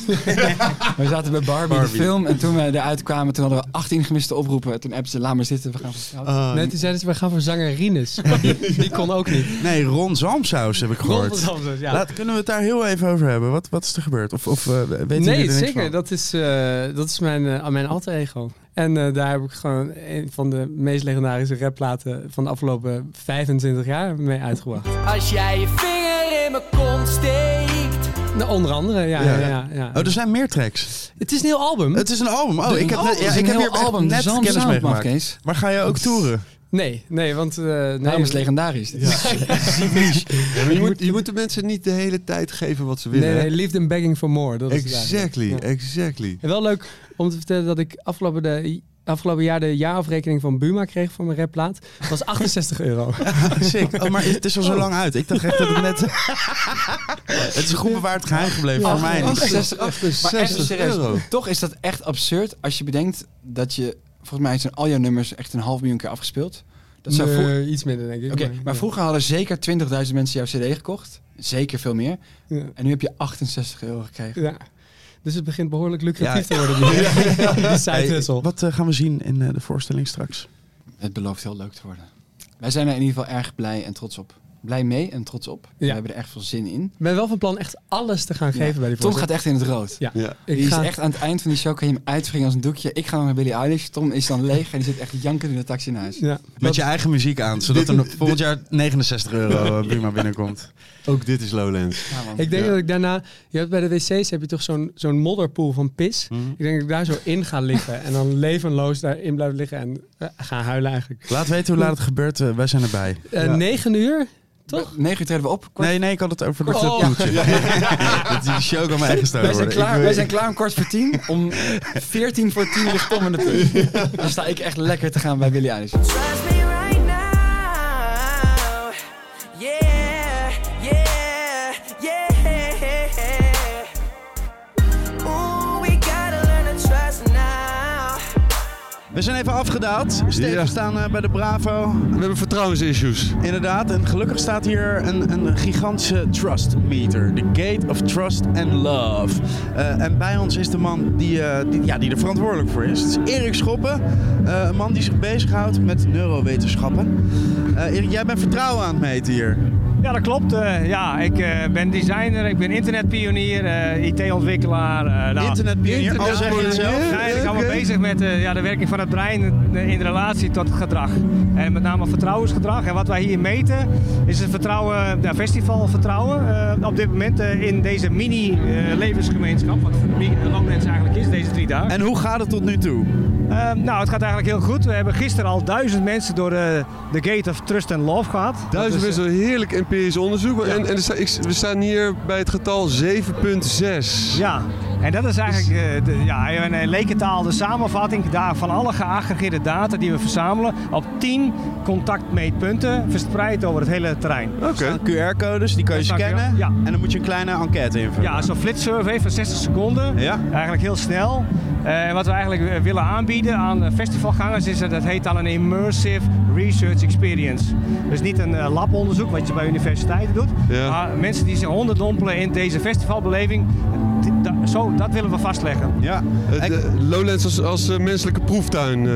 wij zaten bij Barbie, de
Barbie.
film. En toen we eruit kwamen, toen hadden we 18 gemiste oproepen. Toen appten ze, laat maar zitten, we gaan van straat.
Ah,
Nee, toen zeiden ze, we gaan voor zangerines. Die kon ook niet.
Nee, Ron Zalmsaus heb ik gehoord.
ja.
Laat, kunnen we het daar heel even over hebben? Wat, wat is er gebeurd? Of, of eh, weet jullie er
nee,
niks
zeker.
van?
Dat is, eh, dat is mijn, eh, mijn alter ego. En eh, daar heb ik gewoon een van de meest legendarische rapplaten van de afgelopen 25 jaar mee uitgebracht.
Als jij je vinger in mijn kont steekt.
Nou, onder andere, ja. ja.
Ja.
ja, ja.
Oh, er zijn meer tracks.
Het is een heel album.
Het is een album. Oh, ik heb, net- ja, ik heb hier echt net kennis mee
meegemaakt.
gemaakt.
Kees.
Maar ga je ook toeren?
Nee, nee, want... eh nee,
Daarom is het legendarisch. Dit is-
Ja, maar je, moet, je moet de mensen niet de hele tijd geven wat ze
nee,
willen. hè?
nee, Liefde and Begging for More. Dat is het eigenlijk.
exactly,
Ja.
exactly.
En wel leuk om te vertellen dat ik afgelopen, de, afgelopen jaar de jaarafrekening van Buma kreeg voor mijn rapplaat. Dat was 68 euro.
Sick. Oh, maar het is al zo lang uit. Ik dacht echt dat het net... het is goed bewaard geheim gebleven voor mij.
Oh,
niet.
68 Maar echt
68
serieus,
euro.
Toch is dat echt absurd als je bedenkt dat je... Volgens mij zijn al jouw nummers echt een half miljoen keer afgespeeld. Dat zou vroeger...
Nee, iets minder, denk ik.
Oké, maar vroeger hadden zeker 20.000 mensen jouw cd gekocht. Zeker veel meer.
Ja.
En nu heb je 68 euro gekregen.
Ja. Dus het begint behoorlijk lucratief
Ja.
te worden. Die, die
Hey,
sidehustle.
wat eh, gaan we zien in eh, de voorstelling straks?
Het belooft heel leuk te worden. Wij zijn er in ieder geval erg blij en trots op. Blij mee en trots op. We hebben er echt veel zin in.
Ik ben wel van plan echt alles te gaan geven bij die
Tom
voorstelling.
gaat echt in het rood.
Ja.
Ja.
Die
Ik
is
ga
echt aan het eind van die show, kan je hem uitwringen als een doekje. Ik ga dan naar Billy Eilish. Tom is dan leeg en die zit echt jankend in de taxi naar huis.
Ja.
Met je eigen muziek aan, zodat er nog volgend jaar 69 euro eh, Buma binnenkomt.
Ook dit is Lowlands.
Ja, man.
Ik denk
Ja.
dat ik daarna... Je hebt bij de wc's heb je toch zo'n zo'n modderpoel van pis.
Mhm.
Ik denk dat ik daar zo in ga liggen. en dan levenloos daarin blijf liggen en eh, ga huilen eigenlijk.
Laat weten hoe laat het gebeurt, eh, wij zijn erbij.
Eh 9 uur? Toch?
9 uur treden we op. Kwart...
Nee, nee, ik had het over dat
Oh.
clubboeltje. Dat die show kan mij
Wij
gestolen
zijn,
worden.
klaar,
Ik
wij
wil-
zijn klaar om kwart voor tien. Om veertien voor tien ligt Tom in de punt. Dan sta ik echt lekker te gaan bij Billy Eilish.
Trust me right now. Yeah, yeah, yeah. Ooh, we gotta learn to trust now.
We zijn even afgedaald. Steven,
Ja.
we staan eh, bij de Bravo.
We hebben vertrouwensissues.
Inderdaad, en gelukkig staat hier een, een gigantische trust meter. The Gate of Trust and Love. Eh, en bij ons is de man die, eh, die, ja, die er verantwoordelijk voor is. Het is Erik Schoppen, eh, een man die zich bezighoudt met neurowetenschappen. Eh, Erik, jij bent vertrouwen aan het meten hier.
Ja, dat klopt. Eh, ja, ik eh, ben designer, ik ben internetpionier, eh, IT-ontwikkelaar. eh nou,
Internetpionier, al zeg je het zelf.
Ja, ik hou me
Oké.
bezig met eh, ja, de werking van het brein eh, in relatie tot het gedrag. En met name vertrouwensgedrag. En wat wij hier meten is het vertrouwen, ja, festivalvertrouwen. eh, op dit moment eh, in deze mini-levensgemeenschap, wat voor mi- Lowlands eigenlijk is, deze drie dagen.
En hoe gaat het tot nu toe?
Eh, nou, het gaat eigenlijk heel goed. We hebben gisteren al duizend mensen door eh, de Gate of Trust and Love gehad.
Duizend mensen,
eh,
een heerlijk empirisch onderzoek. Maar En, en er sta- ik- we staan hier bij het getal 7,6.
Ja, en dat is eigenlijk eh, de, ja, in een lekentaal de samenvatting daar van alle geaggregeerde data die we verzamelen op 10 contactmeetpunten verspreid over het hele terrein.
Oké. QR-codes, die kan je
Ja, dank je
scannen.
wel. Ja.
En dan moet je een kleine enquête invullen.
Ja, zo'n flitsurvey van 60 seconden,
Ja.
eigenlijk heel snel. Eh, en wat we eigenlijk eh, willen aanbieden aan eh, festivalgangers is dat, dat heet dan een immersive research experience. Dus niet een eh, labonderzoek wat je bij universiteiten doet,
Ja.
maar mensen die zich onderdompelen in deze festivalbeleving, eh, d- da- zo, dat willen we vastleggen.
Ja.
Het,
En-
eh, Lowlands als, als eh, menselijke proeftuin. eh.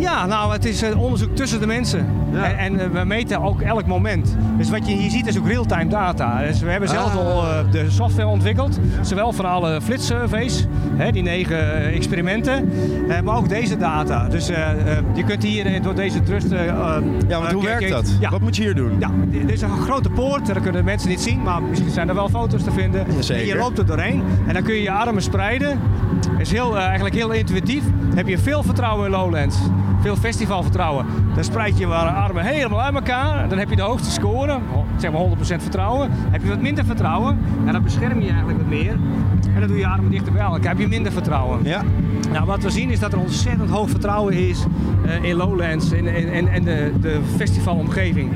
Ja, nou, het is eh, onderzoek tussen de mensen.
Ja.
En, en eh, we meten ook elk moment. Dus wat je hier ziet is ook real-time data. Dus we hebben zelf
Ah.
al eh, de software ontwikkeld. Zowel van alle flitsurveys, hè, die negen eh, experimenten, eh, maar ook deze data. Dus eh, eh, je kunt hier eh, door deze trust... eh, eh,
ja, want
eh,
hoe
kijk-
werkt
kijk-
dat?
Ja.
Wat moet je hier doen?
Ja, er is een grote poort, dat kunnen de mensen niet zien, maar misschien zijn er wel foto's te vinden.
Jazeker.
En je loopt er doorheen en dan kun je je armen spreiden. Dat is heel, eh, eigenlijk heel intuïtief. Dan heb je veel vertrouwen in Lowlands. Veel festivalvertrouwen. Dan spreid je je armen helemaal uit elkaar. Dan heb je de hoogste Oh, nou, score, zeg maar 100% vertrouwen. Dan heb je wat minder vertrouwen en dan bescherm je eigenlijk wat meer. En dat doe je armen dichter bij elkaar. Dan heb je minder vertrouwen.
Ja.
Nou, wat we zien is dat er ontzettend hoog vertrouwen is eh, in Lowlands en, en, en, en de, de festivalomgeving.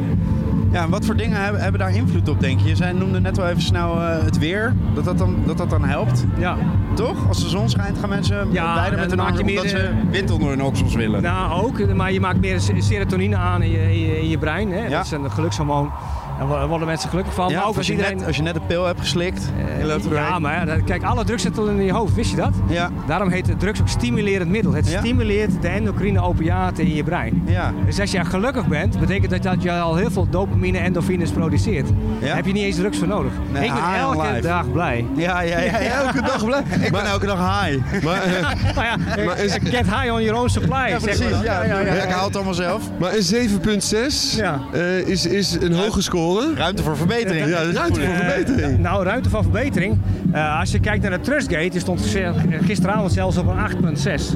Ja, en wat voor dingen hebben, hebben daar invloed op, denk je? Je zei- noemde net wel even snel eh, het weer, dat dat, dan, dat dat dan helpt.
Ja.
Toch? Als de zon schijnt gaan mensen blijder
dan
met hun
maak je
armen
meer,
omdat ze
eh,
wind onder hun oksels willen.
Nou, ook. Maar je maakt meer se- serotonine aan in je, in je, in je brein. Hè?
Ja.
Dat is een gelukshormoon. Daar wo- worden mensen gelukkig van.
Ja,
maar ook als,
of als je
iedereen... Eh,
net- als je net een pil hebt geslikt. je loopt er
ja,
doorheen.
maar ja, dat- kijk, alle drugs zitten al in je hoofd. Wist je dat?
Ja.
Daarom heet het drugs ook stimulerend middel. Het
Ja.
stimuleert de endocrine opiaten in je brein.
Ja.
Dus als jij gelukkig bent, betekent dat dat je al heel veel dopamine en endorfines produceert. Daar heb je niet eens drugs voor nodig.
Nee,
ik ben
high on
elke
life.
dag blij.
Ja, ja, ja, elke dag blij. Ik ben elke dag high.
Nou ja,
Maar is-
get high on your own supply.
Ja,
zeg maar
precies.
dan.
Ja, Ja, ik haal het allemaal zelf.
Maar een 7,6 eh, is, is een hoge score.
Ruimte voor verbetering.
Ja, ruimte voor
Eh,
verbetering.
nou, ruimte van verbetering. Eh, als je kijkt naar de Trustgate, die stond ze- gisteravond zelfs op een 8,6.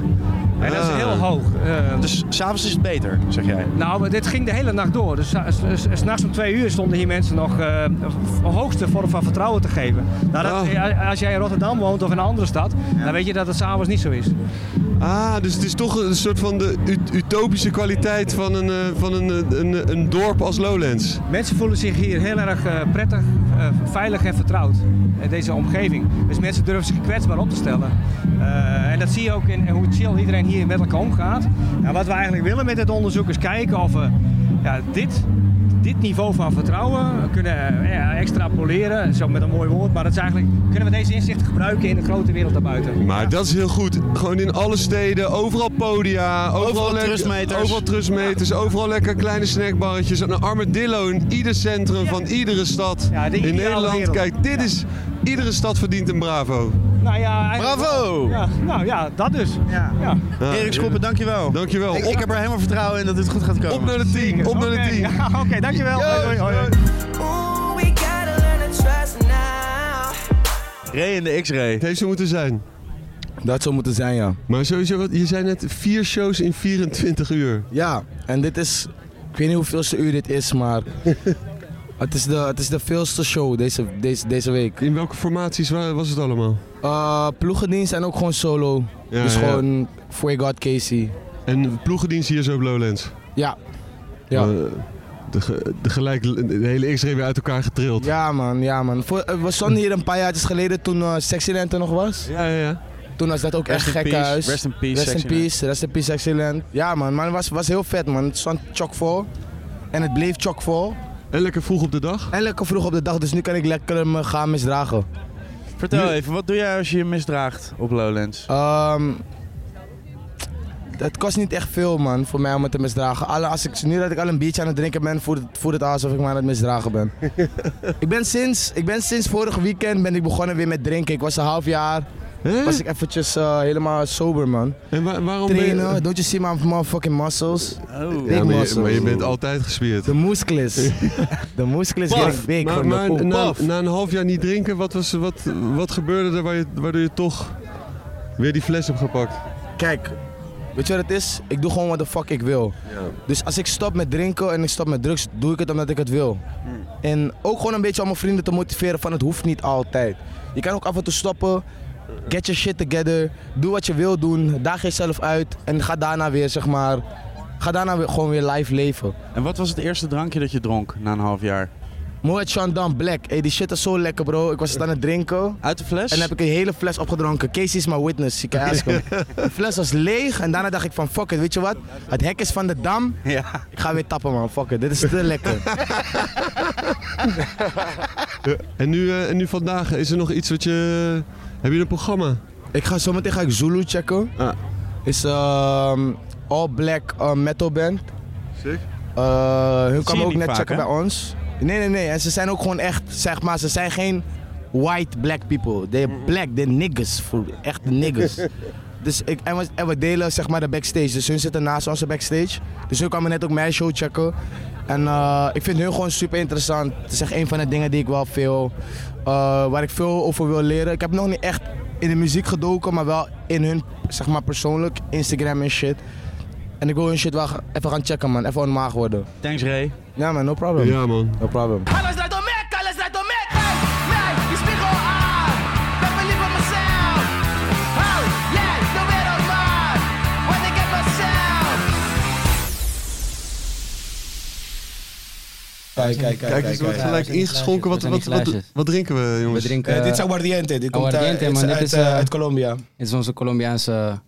En dat is
Ah.
heel hoog. Eh,
Dus s'avonds is het beter, zeg jij.
nou, maar dit ging de hele nacht door. Dus s- s- s- s'nachts om twee uur stonden hier mensen nog eh, een hoogste vorm van vertrouwen te geven. Nou, dat,
Oh.
eh, Als jij in Rotterdam woont of in een andere stad, dan weet je dat het s'avonds niet zo is.
Ah, dus het is toch een soort van de ut- utopische kwaliteit van, een, eh, van een, eh, een, een dorp als Lowlands.
Mensen voelen zich hier heel erg eh, prettig, eh, veilig en vertrouwd in deze omgeving. Dus mensen durven zich kwetsbaar op te stellen. Eh, en dat zie je ook in hoe chill iedereen hier met elkaar omgaat. Nou, wat we eigenlijk willen met dit onderzoek is kijken of we ja, dit, dit niveau van vertrouwen kunnen eh, ja, extrapoleren. Zo met een mooi woord, maar dat is eigenlijk, kunnen we deze inzichten gebruiken in de grote wereld daarbuiten.
Maar dat is heel goed. Gewoon in alle steden, overal podia, overal,
Overal
lekker-
trustmeters.
overal, trustmeters, overal lekker kleine snackbarretjes. Een armadillo in ieder centrum van iedere stad
Ja, de
in
ideale
Nederland.
wereld.
Kijk, dit is... Iedere stad verdient een bravo.
Nou ja, eigenlijk-
Bravo!
Ja, nou ja, dat dus. Ja.
Ja,
Erik Schoppen, dankjewel.
Dankjewel.
Ik,
Op,
ik heb er helemaal vertrouwen in dat dit goed gaat komen.
op naar de 10, op naar de
Oké,
10.
ja, Oké, dankjewel.
Ja,
Hoi, hoi, hoi.
Ooh, we gotta learn to trust now.
Ray in de X-ray.
Het heeft zo moeten zijn.
Dat zou moeten zijn, ja.
Maar sowieso, wat- je zei net vier shows in 24 uur.
Ja, en dit is, ik weet niet hoeveelste uur dit is, maar het, is de, het is de veelste show deze, deze, deze week.
In welke formaties wa- was het allemaal?
Eh, ploegendienst en ook gewoon solo.
Ja,
dus
ja.
gewoon voor je God Casey.
En ploegendienst hier zo op Lowlands?
Ja. Ja.
Eh, de, ge- de, gelijk, de hele X-ray weer uit elkaar getrild.
Ja man, ja man. Voor, eh, we stonden hier een paar jaartjes geleden toen eh Sexyland er nog was.
Ja, ja, ja.
Toen was dat ook
Rest
echt
in
gek
peace,
huis.
rest in peace,
Rest in
Sexyland.
peace, rest in peace Sexyland. Ja man, maar het was, was heel vet man. Het stond chockvol. En het bleef chockvol.
En lekker vroeg op de dag.
En lekker vroeg op de dag, dus nu kan ik lekker me gaan misdragen.
Vertel even, wat doe jij als je je misdraagt op Lowlands?
Ehm, het kost niet echt veel, man, voor mij om het te misdragen. Alle, als ik, nu dat ik al een biertje aan het drinken ben, voelt het, voelt het alsof ik me aan het misdragen ben. ik, ben sinds, ik ben sinds vorig weekend ben ik begonnen weer met drinken. Ik was een half jaar,
Hè?
was ik eventjes eh, helemaal sober, man.
En wa- waarom ben
Trainen,
je...
don't you see my motherfucking muscles?
Oh.
Ja,
Big
maar, je,
muscles.
maar je bent altijd gespierd.
De moesklis. De moesklis is big
Maar,
van de
maar
poep.
nou-
na,
Paf.
na een half jaar niet drinken, wat, was, wat, wat gebeurde er waar je, waardoor je toch weer die fles hebt gepakt?
Kijk, weet je wat het is? Ik doe gewoon wat de fuck ik wil. Dus als ik stop met drinken en ik stop met drugs, doe ik het omdat ik het wil.
Hmm.
En ook gewoon een beetje om mijn vrienden te motiveren van het hoeft niet altijd. Je kan ook af en toe stoppen. Get your shit together. Doe wat je wil doen. Daag jezelf uit. En ga daarna weer, zeg maar... Ga daarna weer, gewoon weer live leven.
En wat was het eerste drankje dat je dronk na een half jaar?
Moet Chandon Black. Hey, die shit is zo lekker, bro. Ik was het aan het drinken.
Uit de fles?
En heb ik een hele fles opgedronken. Casey is my witness, you can ask him. De fles was leeg en daarna dacht ik van fuck it, weet je wat? Het hek is van de dam.
Ja.
Ik ga weer tappen man, fuck it, dit is te lekker.
En nu, eh, en nu vandaag, is er nog iets wat je... Heb je een programma?
Ik ga zometeen ga ik Zulu checken.
Ah.
Is ehm all black eh, metal band.
Sick.
Eh, hun
zie je
kwamen ook
niet
net
vaak,
checken
hè?
bij ons. Nee, nee, nee. En ze zijn ook gewoon echt, zeg maar, ze zijn geen white black people. They're black, they're niggas. voor- Echt niggas. dus ik, en, we, en we delen zeg maar de backstage. Dus hun zitten naast onze backstage. Dus hun kwamen net ook mijn show checken. En eh, ik vind hun gewoon super interessant. Het is echt een van de dingen die ik wel veel, eh, waar ik veel over wil leren. Ik heb nog niet echt in de muziek gedoken, maar wel in hun, zeg maar persoonlijk, Instagram en shit. En ik wil hun shit wel ga- even gaan checken, man. Even onmaag worden.
Thanks Ray.
Ja, man, no problem.
Ja, man.
No problem.
Alles lijkt op mij, alles lijkt op mij. Hey, mij, je spiegel aan. Laat me liever mezelf. Oh,
Kijk, kijk, kijk.
Kijk, dus er wordt gelijk ingeschonken. Wat, wat, wat, wat drinken we, jongens?
We drinken,
Eh,
eh,
dit
is aguardiente. Dit
komt uit-
aguardiente,
dit is
man.
uit,
Dit is
eh,
eh,
uit Colombia.
Dit is onze Colombiaanse...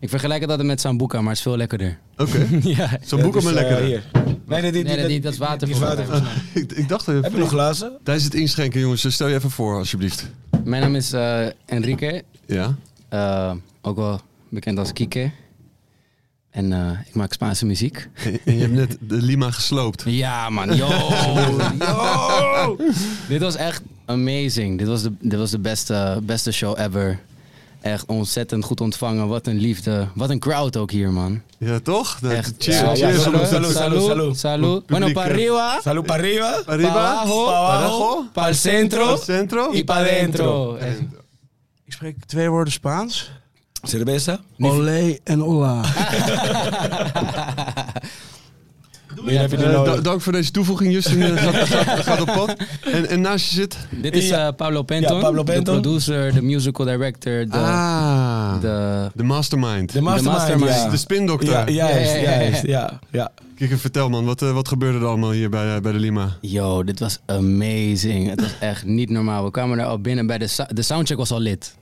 ik vergelijk het altijd met Sambuca, maar het is veel lekkerder.
Oké.
ja.
Sambuca
Dat is, eh,
maar lekkerder.
hier.
Nee,
nee, nee, nee, dat is water.
is
volgens mij.
Ah.
water. ik, ik dacht even.
Heb je nog glazen?
Tijdens het inschenken, jongens, eh, stel je even voor, alsjeblieft.
Mijn naam is eh, Enrique.
Ja.
Eh, ook wel bekend als Kike. En eh, ik maak Spaanse muziek.
En je hebt net de Lima gesloopt.
Ja, man. Yo, yo. dit was echt amazing. Dit was de, dit was de beste, beste show ever. Echt ontzettend goed ontvangen. Wat een liefde. Wat een crowd ook hier, man.
Ja, toch? Dat,
Echt.
cheers, cheers, cheers.
Salud,
Salud,
salud,
salud,
salud.
salud.
Bueno,
Publiek,
para
hè?
arriba.
Salud para arriba.
Para arriba.
Pa abajo.
Pa
Pa
abajo.
Para el centro.
Para el centro.
Y para dentro.
Ik spreek twee woorden Spaans.
Cerveza.
Olé en hola.
Eh,
Meer heb je niet
Eh,
nodig.
da- dank voor deze toevoeging, Justin. Eh, gaat, gaat, gaat op pad. En, en naast je zit...
Dit is eh, Pablo Penton.
Ja, Pablo
De
Penton.
producer, de musical director. De,
Ah,
de,
de mastermind.
De mastermind, ja.
De spindokter.
Ja, juist, Ja, ja, ja, ja. juist, ja,
Kijk, vertel man, wat, eh, wat gebeurde er allemaal hier bij, eh, bij de Lima?
Yo, dit was amazing. Het was echt niet normaal. We kwamen daar al binnen bij de, sou- de soundcheck was al lid.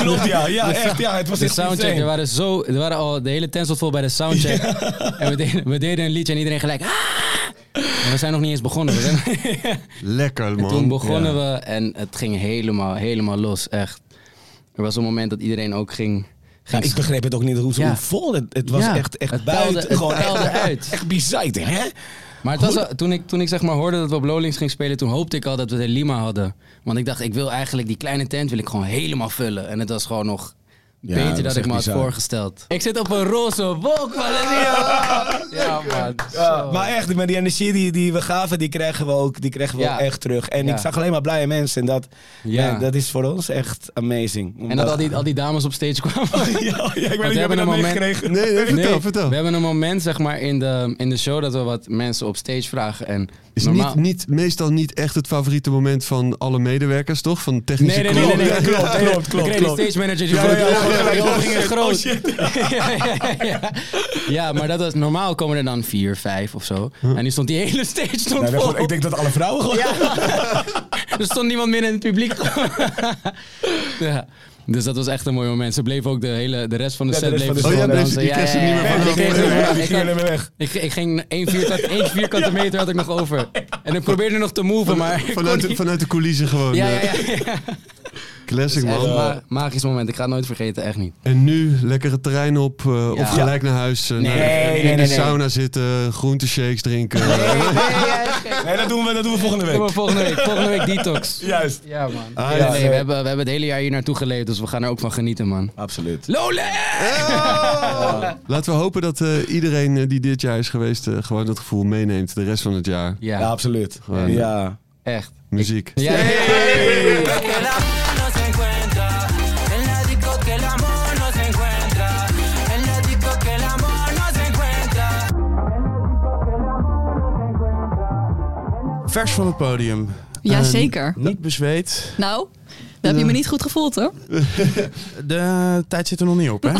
Klopt, ja. Ja,
De
echt. Ja, het was
de
echt
soundcheck.
insane.
Er waren, zo, er waren al de hele tent stond vol bij de soundcheck. En we deden, we deden een liedje en iedereen gelijk. "Ah!" En we zijn nog niet eens begonnen. We zijn,
Lekker man.
en toen begonnen we en het ging helemaal, helemaal los. Echt. Er was een moment dat iedereen ook ging.
Ja,
ging
ik begreep het ook niet hoe,
Ja.
hoe vol het, het was.
Ja,
Echt, echt
het
buiten.
puilde- het
gewoon
puilde
echt,
uit.
Echt bizar, hè?
Maar het was wel- toen ik, toen ik zeg maar hoorde dat we op Lowlands gingen spelen, toen hoopte ik al dat we het in Lima hadden. Want ik dacht, ik wil eigenlijk die kleine tent wil ik gewoon helemaal vullen. En het was gewoon nog
Ja,
beter
dat
dat,
was
ik
echt
me had
bizar.
voorgesteld. Ik zit op een roze wolk, Ja, man.
Ja, maar echt, met die energie die, die we gaven, die kregen we ook, die kregen we
Ja.
ook echt terug. En
Ja.
ik zag alleen maar blije mensen. En dat,
Ja.
man, dat is voor ons echt amazing.
En dat al die, al die dames op stage kwamen.
Oh, ja, ik weet niet,
Want
heb je dat
moment-
meegekregen? Nee, nee, vertel, vertel.
We hebben een moment zeg maar in de, in de show dat we wat mensen op stage vragen. En
Is
normaal...
niet, niet, meestal niet echt het favoriete moment van alle medewerkers, toch? Van de technische
Nee, nee, nee,
crew.
nee, nee, klopt,
Ja,
klopt,
ja.
klopt, klopt. Ik kreeg die stage manager die Ja, gewoon- ja, ja, ja, ja, ja, ging het groot. Oh, shit. Ja, maar dat was, normaal komen er dan vier, vijf of zo. En nu stond die hele stage stond
Nee, dat-
vol.
ik denk dat alle vrouwen gewoon-
Ja. er stond niemand meer in het publiek. ja. Dus dat was echt een mooi moment. Ze bleven ook de, hele, de rest van de
Ja, de
set
rest
bleven
van de
ze
set.
gewoon
Oh, jij bleef-
dansen.
je kreeg ze niet meer
ja,
van-
ja, Ik kreeg ze
Nee, nee,
niet meer.
die
Ik
gingen
had-
weer weg.
Ik, ik ging één vierkante, één vierkante meter had ik nog over. En ik probeerde nog te moven, maar ik kon
Vanuit, de-
niet.
vanuit de coulissen gewoon.
Ja, ja,
eh.
ja.
Classic
Echt
man.
een ma- magisch moment. Ik ga het nooit vergeten, echt niet.
En nu lekkere trein op, eh, of gelijk naar huis. eh,
Nee,
naar-
nee,
in
nee,
de
nee.
sauna zitten, groenteshakes drinken.
Nee, dat doen we, dat doen we volgende week.
Doen we volgende week. Volgende week detox.
Juist.
Ja, man.
Ah,
nee,
ja.
nee, we, hebben, we hebben het hele jaar hier naartoe geleefd, dus we gaan er ook van genieten, man.
Absoluut.
Lola!
Laten we hopen dat eh, iedereen eh, die dit jaar is geweest, eh, gewoon dat gevoel meeneemt de rest van het jaar.
Ja,
absoluut.
Gewoon, eh,
Ja.
Echt.
Muziek.
Que el amor no se encuentra. En la disco que el amor no se encuentra. En la disco que el amor no se encuentra.
Vers van het podium.
Ja, zeker.
Eh, niet bezweet.
Nou, dat heb je me niet goed gevoeld hoor.
De tijd zit er nog niet op, hè?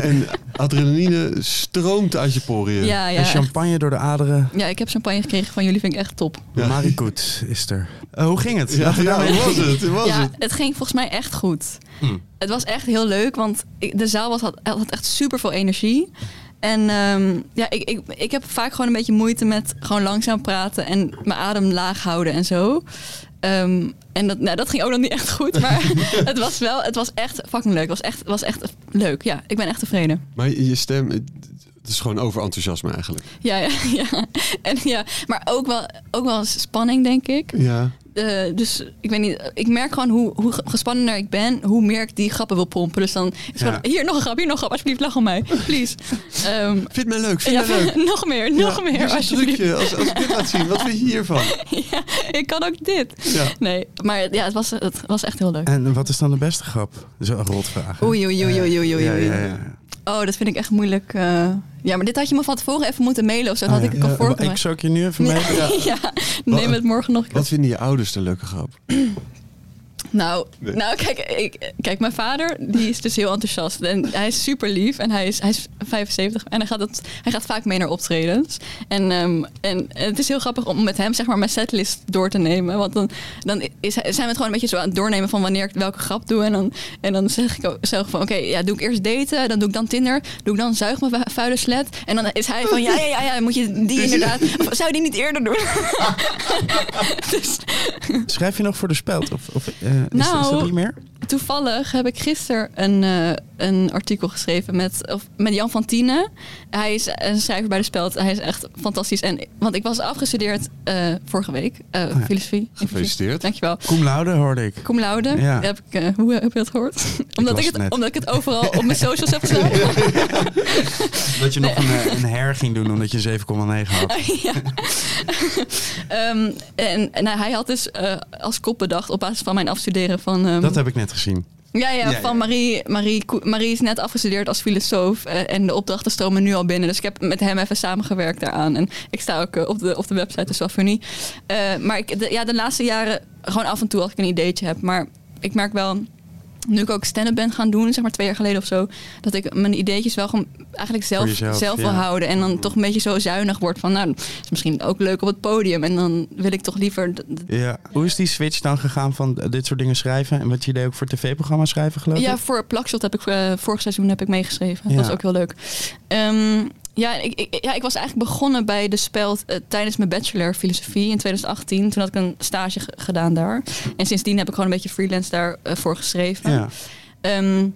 en adrenaline stroomt uit je poriën.
Ja, ja, En
champagne door de aderen.
Ja, ik heb champagne gekregen van jullie, vind ik echt top.
Ja. Maricoet is er. Eh, hoe ging het?
Ja,
Laten we
ja,
daarmee
hoe was het? Hoe was
ja, het ging volgens mij echt goed.
Hm.
Het was echt heel leuk, want ik- de zaal was, had, had echt super veel energie. En ehm, ja, ik, ik, ik heb vaak gewoon een beetje moeite met gewoon langzaam praten en mijn adem laag houden en zo. Ehm, en dat, nou, dat ging ook nog niet echt goed, maar het was wel, het was echt fucking leuk. Het was echt, het was echt leuk, ja. Ik ben echt tevreden.
Maar je je stem, het het is gewoon overenthousiasme eigenlijk.
Ja, ja, ja. En ja, maar ook wel, ook wel spanning, denk ik.
Ja.
Eh, dus ik weet niet, ik merk gewoon hoe, hoe ge- gespannener ik ben, hoe meer ik die grappen wil pompen. Dus dan is
Ja.
gewoon, hier nog een grap, hier nog een grap, alsjeblieft, lach om mij. Please. Ehm
Vind mij leuk, vind
ja,
mij leuk.
nog meer, nog
Ja,
meer.
hier is een
alsjeblieft.
trucje. Als, als ik dit laat zien, wat vind je hiervan?
ja, ik kan ook dit.
Ja. Eh.
Nee, maar ja, het was, het was echt heel leuk.
En wat is dan de beste grap? Zo'n rotvraag. hè?
Oei, oei, oei, oei, oei, oei,
Ja,
oei.
ja, ja.
Oh, dat vind ik echt moeilijk. eh. ja, maar dit had je me van tevoren even moeten mailen of zo. Dat had
Ah,
ik
ja.
het al
Ja,
voor kunnen
Ik zou het je nu even mee.
Ja, neem het morgen nog.
Wat vinden je ouders een leuke grap?
Nou,
Nee.
nou kijk, ik, kijk, mijn vader die is dus heel enthousiast. En hij is super lief en hij is, hij is 75 en hij gaat, dat, hij gaat vaak mee naar optredens. En, ehm, en het is heel grappig om met hem zeg maar, mijn setlist door te nemen. Want dan, dan is, hij- zijn we het gewoon een beetje zo aan het doornemen van wanneer ik welke grap doe. En dan, en dan zeg ik ook zelf van oké, ja, doe ik eerst daten, dan doe ik dan Tinder, doe ik dan zuig mijn vu- vuile slet. En dan is hij van ja, ja, ja, ja moet je die inderdaad. Of zou je die niet eerder doen? dus,
Schrijf je nog voor de speld? Of, of eh, is,
Nou,
is dat niet meer?
Toevallig heb ik gisteren een, eh, een artikel geschreven met, of, met Jan van Tienen. Hij is een schrijver bij de Speld. Hij is echt fantastisch. En, want ik was afgestudeerd eh, vorige week, eh,
Oh ja.
filosofie.
Gefeliciteerd.
Dankjewel.
Cum laude hoorde ik.
Cum laude.
Ja.
Heb ik, eh, hoe heb je dat gehoord? omdat,
las
ik
het net.
het, omdat ik het overal op mijn socials heb gezet.
Dat je nog
Nee.
een, eh, een her ging doen omdat je 7,9 had.
ja. Ehm, en en nou, hij had dus eh, als kop bedacht op basis van mijn afstuderen van... ehm,
Dat heb ik net gezien.
Ja, ja,
Ja,
van
ja.
Marie. Marie, Ko- Marie is net afgestudeerd als filosoof eh, en de opdrachten stromen nu al binnen. Dus ik heb met hem even samengewerkt daaraan. En ik sta ook eh, op, de, op de website, dus wel funny. Eh, maar ik, de, ja, de laatste jaren gewoon af en toe als ik een ideetje heb. Maar ik merk wel, nu ik ook stand-up ben gaan doen, zeg maar twee jaar geleden of zo, dat ik mijn ideetjes wel gewoon eigenlijk zelf,
Voor jezelf,
zelf wil
ja. Mm.
houden. En dan toch een beetje zo zuinig wordt van, nou, is misschien ook leuk op het podium. En dan wil ik toch liever d-
Ja. Hoe is die switch dan gegaan van eh, dit soort dingen schrijven? En wat je deed ook voor tv-programma's schrijven, geloof ik?
Ja, voor Plakshot heb ik eh, vorig seizoen heb ik meegeschreven.
Ja.
Dat was ook heel leuk. Ehm, ja, ik, ik, ja, ik was eigenlijk begonnen bij de Speld eh, tijdens mijn bachelor filosofie in 2018. Toen had ik een stage ge- gedaan daar. En sindsdien heb ik gewoon een beetje freelance daarvoor voor geschreven.
Ja.
Ehm,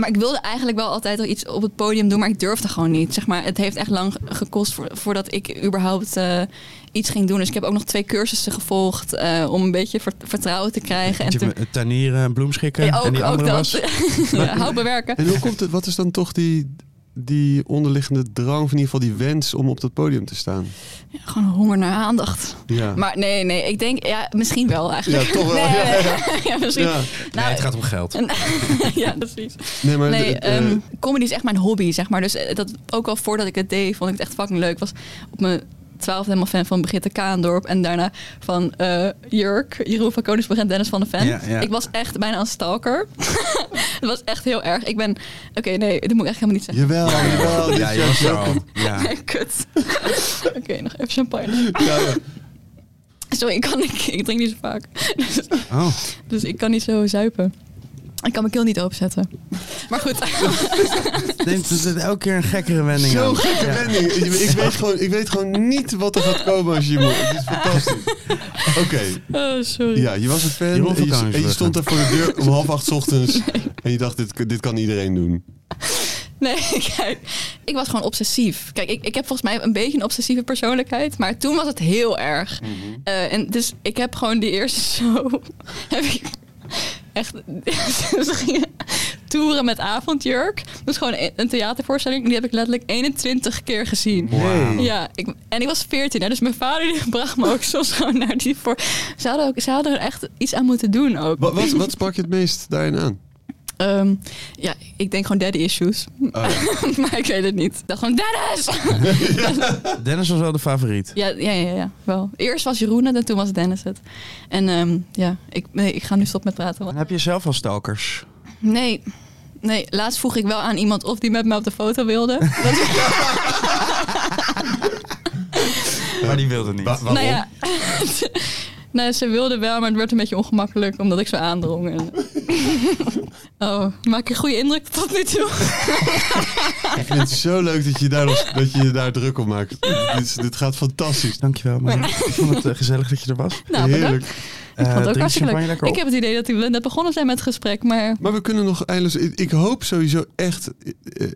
maar ik wilde eigenlijk wel altijd al iets op het podium doen, maar ik durfde gewoon niet. Zeg maar, het heeft echt lang ge- gekost vo- voordat ik überhaupt eh, iets ging doen. Dus ik heb ook nog twee cursussen gevolgd eh, om een beetje vert- vertrouwen te krijgen. En
Je
toen,
hebt, eh, Tuinieren en bloemschikken.
Ja, ook-
en die
ook
andere
dat.
was...
Ja, hout bewerken.
En hoe komt het, wat is dan toch die, die onderliggende drang, of in ieder geval die wens om op dat podium te staan?
Gewoon honger naar aandacht.
Ja.
Maar nee, nee, ik denk, ja, misschien wel eigenlijk.
Ja, toch wel.
Nee,
Ja,
nee,
ja.
nee. Ja, misschien.
Ja.
Nou,
om geld.
ja, precies.
Nee, maar
nee,
het, eh,
ehm, comedy is echt mijn hobby, zeg maar. Dus eh, dat, ook al voordat ik het deed, vond ik het echt fucking leuk. Ik was op mijn twaalfde helemaal fan van Brigitte Kaandorp. En daarna van eh, Jurk, Jeroen van Koningsbrug en Dennis van de Ven.
Ja, ja.
Ik was echt bijna een stalker. Het was echt heel erg. Ik ben... Oké, nee, dat moet ik echt helemaal niet zeggen.
Jawel, jawel. dit
Ja, je
is
was
juist
er
wel-
al. Ja.
Nee, kut. Oké, nog even champagne.
Ja, ja.
Sorry, ik, kan, ik, ik drink niet zo vaak. Dus,
Oh.
dus ik kan niet zo zuipen. Ik kan mijn keel niet openzetten. Maar goed.
Neemt dus het elke keer een gekkere wending
Zo'n
aan.
gekke
Ja.
wending. Ik weet, gewoon, ik weet gewoon niet wat er gaat komen als je moet. Het is fantastisch. Oké.
Oh, sorry.
Ja, je was een fan
Jeroen
en
van
je, en je
Koningsbrugge.
stond daar voor de deur om half acht 's ochtends. En je dacht, dit, dit kan iedereen doen.
Nee, kijk. Ik was gewoon obsessief. Kijk, ik, ik heb volgens mij een beetje een obsessieve persoonlijkheid. Maar toen was het heel erg. Eh, en dus ik heb gewoon die eerste show... heb ik echt... ze gingen toeren met avondjurk. Dus gewoon een- een theatervoorstelling. Die heb ik letterlijk 21 keer gezien.
Wauw.
Ja, ik, en ik was 14. Hè, dus mijn vader die bracht me ook soms gewoon naar die voor... Ze hadden, ook, ze hadden er echt iets aan moeten doen ook.
Wat, wat, wat sprak je het meest daarin aan?
Ehm, ja, ik denk gewoon daddy issues.
Oh,
maar ik weet het niet. Ik dacht gewoon, Dennis!
Dennis was wel de favoriet.
ja, ja, ja, ja, wel. Eerst was Jeroen het en toen was Dennis het. En ehm, ja, ik, nee, ik ga nu stop met praten.
En
want-
heb je zelf al stalkers?
Nee, nee, laatst vroeg ik wel aan iemand of die met me op de foto wilde.
Maar die wilde niet.
nou ja, nou, ze wilde wel, maar het werd een beetje ongemakkelijk omdat ik zo aandrong. En... oh, maak ik een goede indruk tot nu toe?
Ik vind het zo leuk dat je daar, nog- dat je, je daar druk op maakt. Dit, is- dit gaat fantastisch.
Dankjewel, man. Ik vond het eh, gezellig dat je er was.
Nou, bedankt. Heerlijk.
Eh,
Ik vond het ook
drink
hartstikke
champagne
leuk.
lekker
Ik
op.
heb het idee dat we net begonnen zijn met het gesprek, maar...
Maar we kunnen nog eindeloos... Ik ik hoop sowieso echt... eh, eh,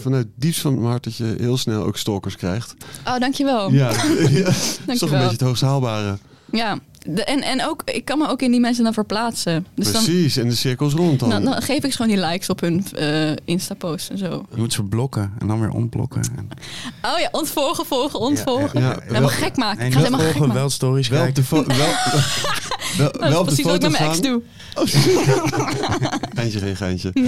Vanuit het diepst van mijn hart dat je heel snel ook stalkers krijgt.
Oh, dankjewel.
Ja, ja. dat is toch een
Dankjewel.
beetje het hoogst haalbare.
Ja, de- en, en ook, ik kan me ook in die mensen dan verplaatsen. Dus dan,
Precies, en de cirkels rond dan.
dan, dan geef ik ze gewoon die likes op hun eh Insta-posts en zo.
Je moet ze blokken en dan weer ontblokken. En-
Oh ja, ontvolgen, volgen,
Ja, ja,
ontvolgen. Ja,
ja.
helemaal
Wel-
gek maken.
en
Ik ga
wel
het helemaal gek
volgen,
maken.
wel stories
Wel op de,
kijken.
fo- wel, wel,
Dat
wel op de
is precies wat ik
foto
met mijn ex
gaan.
doe.
Geintje, geen geintje.
Mhm.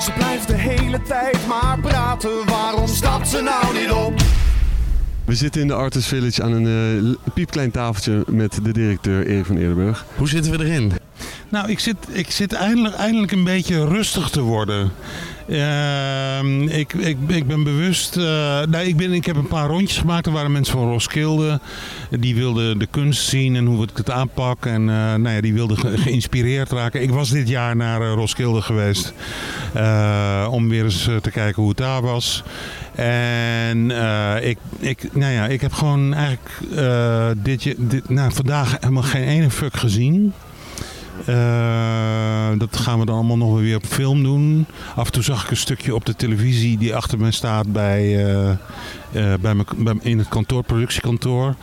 Ze blijft de hele tijd maar praten, waarom stapt ze nou niet op?
We zitten in de Artist Village aan een eh, piepklein tafeltje met de directeur Erik van Eerdenburg.
Hoe zitten we erin?
Nou, ik zit, ik zit eindelijk, eindelijk een beetje rustig te worden. Ehm, ik, ik, ik ben bewust. eh, nou, ik, ben, ik heb een paar rondjes gemaakt. Er waren mensen van Roskilde. Die wilden de kunst zien en hoe ik het aanpak. En eh, nou ja, die wilden ge- geïnspireerd raken. Ik was dit jaar naar eh, Roskilde geweest. eh, om weer eens eh, te kijken hoe het daar was. En eh, ik, ik, nou ja, ik heb gewoon eigenlijk eh, dit, je- dit, nou, vandaag helemaal geen ene fuck gezien. Eh, dat gaan we dan allemaal nog weer op film doen. Af en toe zag ik een stukje op de televisie die achter me staat bij, eh, eh, bij me, bij, in het kantoor, productiekantoor.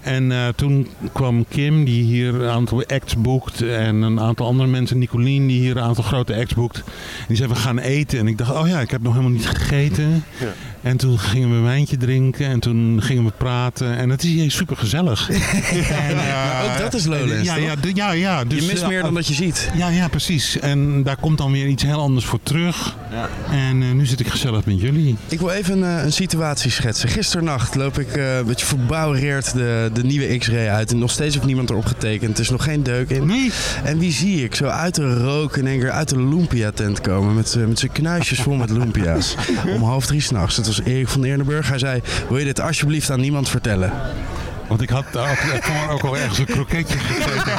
En eh, toen kwam Kim, die hier een aantal acts boekt. En een aantal andere mensen, Nicolien, die hier een aantal grote acts boekt. En die zei, we gaan eten. En ik dacht, oh ja, ik heb nog helemaal niet gegeten.
Ja.
En toen gingen we wijntje drinken. En toen gingen we praten. En het is hier super gezellig.
ook dat is Lowlands,
Ja,
toch?
ja, d- ja, ja. Dus,
Je mist meer dan
dat je ziet. Ja, ja, precies. En daar komt dan weer iets heel anders voor terug. En eh, nu zit ik gezellig met jullie.
Ik wil even een, eh, een situatie schetsen. Gisternacht loop ik eh, een beetje verbouwereerd de, de nieuwe X-ray uit. En nog steeds heeft niemand erop getekend. Er is nog geen deuk in. En wie zie ik zo uit de rook in één keer uit de Lumpia-tent komen. Met, z'n- met zijn knuisjes vol met Lumpia's. Om half drie s'nachts. Het was Erik van Eerdenburg. Hij zei: Wil je dit alsjeblieft aan niemand vertellen?
Want ik had daarvoor ook al ergens een kroketje gegeten.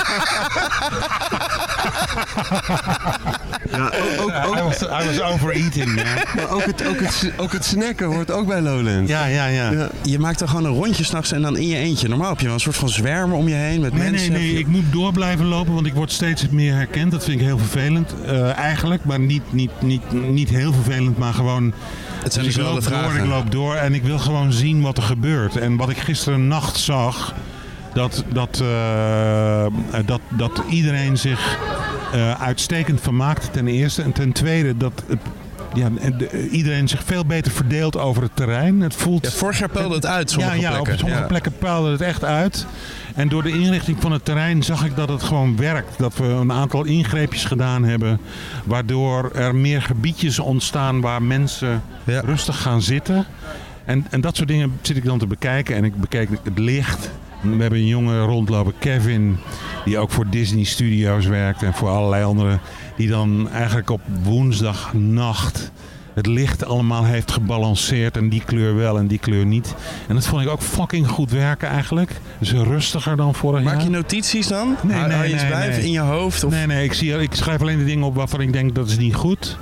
Ja, ook, ook,
I was, I was overeating.
Maar ook het, ook, het, ook het snacken hoort ook bij Lowlands.
Ja, ja, ja.
Je maakt dan gewoon een rondje s'nachts en dan in je eentje. Normaal heb je wel een soort van zwermen om je heen met
Nee, nee,
mensen.
nee. Ik moet door blijven lopen, want ik word steeds meer herkend. Dat vind ik heel vervelend eh, eigenlijk. Maar niet, niet, niet, niet heel vervelend, maar gewoon...
Het zijn
dus ik
dezelfde
loop door,
vragen.
ik loop door en ik wil gewoon zien wat er gebeurt. En wat ik gisteren nacht zag, dat, dat, eh, dat, dat iedereen zich eh, uitstekend vermaakt ten eerste. En ten tweede dat... het- ja, en de- iedereen zich veel beter verdeelt over het terrein. Het voelt...
vorig jaar peilde het uit, sommige
ja, ja,
plekken.
Op sommige
Ja.
plekken puilde het echt uit. En door de inrichting van het terrein zag ik dat het gewoon werkt. Dat we een aantal ingreepjes gedaan hebben. Waardoor er meer gebiedjes ontstaan waar mensen rustig gaan zitten. En, en dat soort dingen zit ik dan te bekijken. En ik bekijk het licht. We hebben een jongen rondlopen, Kevin, die ook voor Disney Studios werkt en voor allerlei andere. Die dan eigenlijk op woensdagnacht het licht allemaal heeft gebalanceerd en die kleur wel en die kleur niet. En dat vond ik ook fucking goed werken eigenlijk. Dus rustiger dan vorig jaar.
Maak je notities dan?
Nee,
Hou-
nee,
hou
nee,
je iets bij
nee.
in je hoofd? Of...
Nee, nee, ik, zie, ik schrijf alleen de dingen op waarvan ik denk dat is niet goed.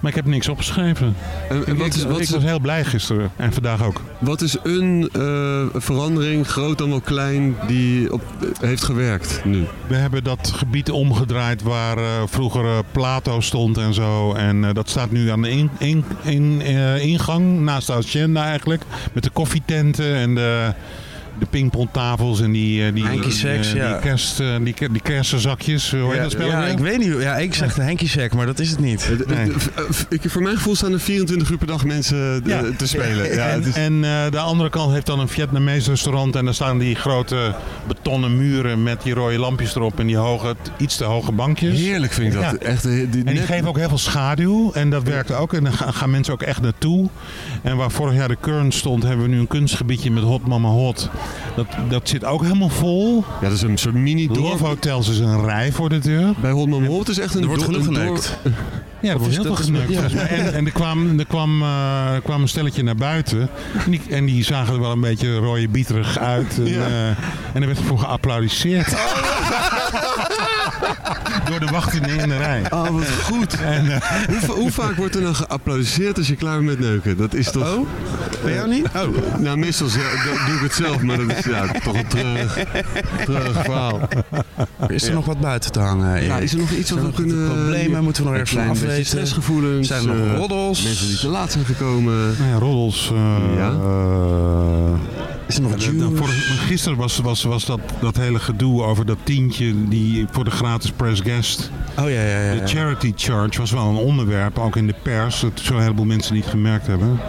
Maar ik heb niks opgeschreven.
en Eh, wat
ik,
is- wat
ik
is-
was heel blij gisteren en vandaag ook.
Wat is een eh, verandering, groot dan wel klein, die op, heeft gewerkt nu?
We hebben dat gebied omgedraaid waar eh, vroeger eh, Plato stond en zo. En eh, dat staat nu aan de in, in, in, eh, ingang, naast de agenda eigenlijk. Met de koffietenten en de, de pingpongtafels en die, eh, die,
Hanky sacks,
eh, die,
ja.
kerst, eh, die, ker- die kersenzakjes. Hoe heet
Ja,
dat spel
ja,
weer?
ik weet niet. hoe- Ja, ik zeg de Henkie Sack, maar dat is het niet.
Nee.
eh, Ik, voor mijn gevoel staan er 24 uur per dag mensen eh, te spelen. Ja,
en
het is-
en eh, de andere kant heeft dan een Vietnamees restaurant. En daar staan die grote betonnen muren met die rode lampjes erop. En die hoge, iets te hoge bankjes.
Heerlijk vind ik dat. Echt, eh, die
en die
net-
geven ook heel veel schaduw. En dat werkt ook. En daar ga- gaan mensen ook echt naartoe. En waar vorig jaar de Current stond, hebben we nu een kunstgebiedje met Hot Mama Hot. Dat, dat zit ook helemaal vol.
Ja, dat is een soort mini
dorp. Love Hotels is een rij voor de deur.
Bij Hot Mama Hot is echt een
Er wordt
do-
genoeg
een door-
geneukt. Ja, er
Of
wordt
is
heel veel
dat-
geneukt.
ja.
volgens mij. En, en er, kwam, er, kwam, eh, er kwam een stelletje naar buiten. En die, en die zagen er wel een beetje rode bieterig uit. En, eh, en er werd voor
Oh,
geapplaudisseerd. Door de wachtenden in de rij. eh,
Oh, wat goed. hoe, va- hoe vaak wordt er nou geapplaudiseerd als je klaar bent met neuken? Dat is toch... Oh?
Bij jou niet?
Oh. Nou, meestal ze- do- doe ik het zelf, maar dat is ja, toch een treurig, treurig verhaal.
Is er
Ja.
nog wat buiten te hangen? Erik?
Ja, is er nog iets wat
Zijn
we
er nog
kunnen... eh,
Problemen moeten we nog ergens van
Een klein beetje
aflezen?
stressgevoelens.
Zijn er nog
eh,
roddels?
Mensen die te laat zijn gekomen.
Nou ja, roddels. eh,
is er nog
Gisteren was, was, was dat, dat hele gedoe over dat tientje die voor de gratis press guest.
Oh ja, ja, ja.
De charity charge was wel een onderwerp, ook in de pers. Dat zullen een heleboel mensen niet gemerkt hebben.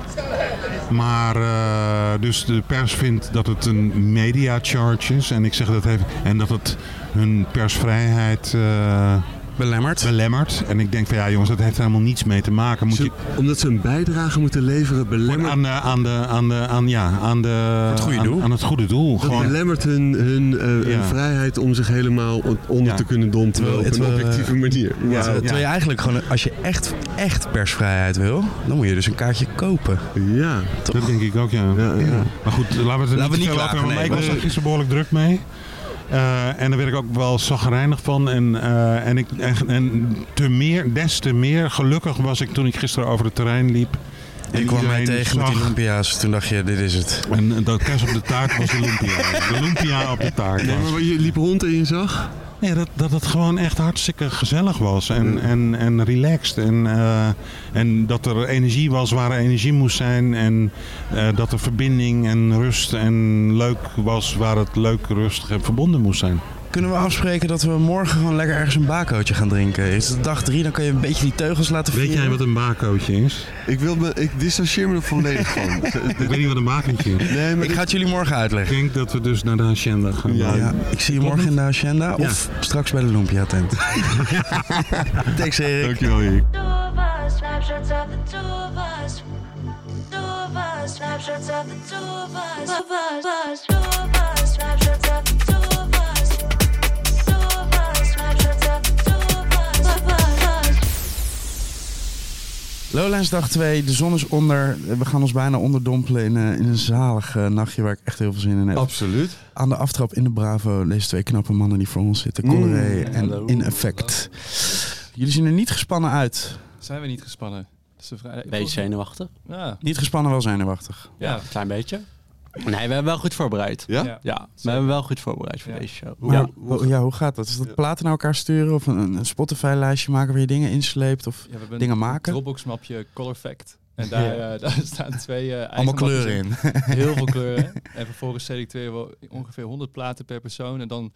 Maar eh, dus de pers vindt dat het een media charge is. En ik zeg dat heeft. En dat het hun persvrijheid. eh, Belemmerd. Belemmerd. En ik denk van ja jongens, dat heeft er helemaal niets mee te maken. Moet je... Omdat ze een bijdrage moeten leveren belemmerd. Aan de, aan de, aan de, aan, ja, aan de...
het goede
aan,
doel.
Aan het goede doel.
Dat belemmert hun, hun, eh, hun
Ja.
vrijheid om zich helemaal on- onder te kunnen dompelen op een
Terwijl-
objectieve manier.
Ja,
Wauw.
terwijl terwijl je eigenlijk gewoon, als je echt, echt persvrijheid wil, dan moet je dus een kaartje kopen.
Ja,
dat denk ik ook, ja. Maar goed, laten we het er
Laten we
niet
niet
te veel over
klagen,
hebben.
nee,
Maar ik was
maar-
er gisteren behoorlijk druk mee. Eh, en daar werd ik ook wel zagrijnig van. En, eh, en, ik, en, en te meer, des te meer gelukkig was ik toen ik gisteren over het terrein liep. En
Ik kwam mij
iedereen
tegen met die
zag-
lumpia's, toen dacht je, dit is het.
En eh, dat kerst op de taart was de lumpia. De lumpia op de taart.
Nee, maar
je liep rond en je zag? Nee, dat, dat het gewoon echt hartstikke gezellig was. En, en, en relaxed. En, eh, en dat er energie was waar er energie moest zijn. En eh, dat er verbinding en rust en leuk was waar het leuk, rustig en verbonden moest zijn.
Kunnen we afspreken dat we morgen gewoon lekker ergens een bakootje gaan drinken? Is het dag drie, dan kan je een beetje die teugels laten
Weet
vieren.
jij wat een bakootje is?
Ik, wil me, ik dissocieer me er volledig van.
Ik weet niet wat een bakootje is.
Nee, maar ik ga het jullie morgen uitleggen.
Ik denk dat we dus naar de agenda gaan.
Ja,
bouwen.
ik zie je morgen in de agenda
Ja.
of straks bij de Lumpia tent. Thanks Erik.
Dankjewel Erik.
Two of us, snapshots of the two of us. Two of us, snapshots of the two of us. Two of us, two of us, snapshots of the two of us. Two of us, snapshots of the two of us. Two of us.
Lowlands dag 2, de zon is onder. We gaan ons bijna onderdompelen in, eh, in een zalig eh, nachtje waar ik echt heel veel zin in heb.
Absoluut.
Aan de aftrap in de Bravo, deze twee knappe mannen die voor ons zitten.
Mm.
Coloré
Hallo.
en In Effect. Jullie zien er niet gespannen uit.
Zijn we niet gespannen? Dat is de vraag.
Beetje zenuwachtig.
Eh, Ja.
Niet gespannen, wel zenuwachtig.
Ja, een
klein beetje. Nee, we hebben wel goed voorbereid.
Ja?
Ja, we hebben wel goed voorbereid voor deze show.
Hoe, ja. Hoe, ja, hoe gaat dat? Is dat platen naar elkaar sturen of een, een Spotify-lijstje maken waar je dingen insleept of
Ja, we hebben
dingen
een
maken?
Dropbox-mapje Color Fact. En daar,
Ja.
eh, daar staan twee eh, eigen
Allemaal
mapjes
kleuren in.
Heel veel kleuren. En vervolgens selecteren we ongeveer 100 platen per persoon. En dan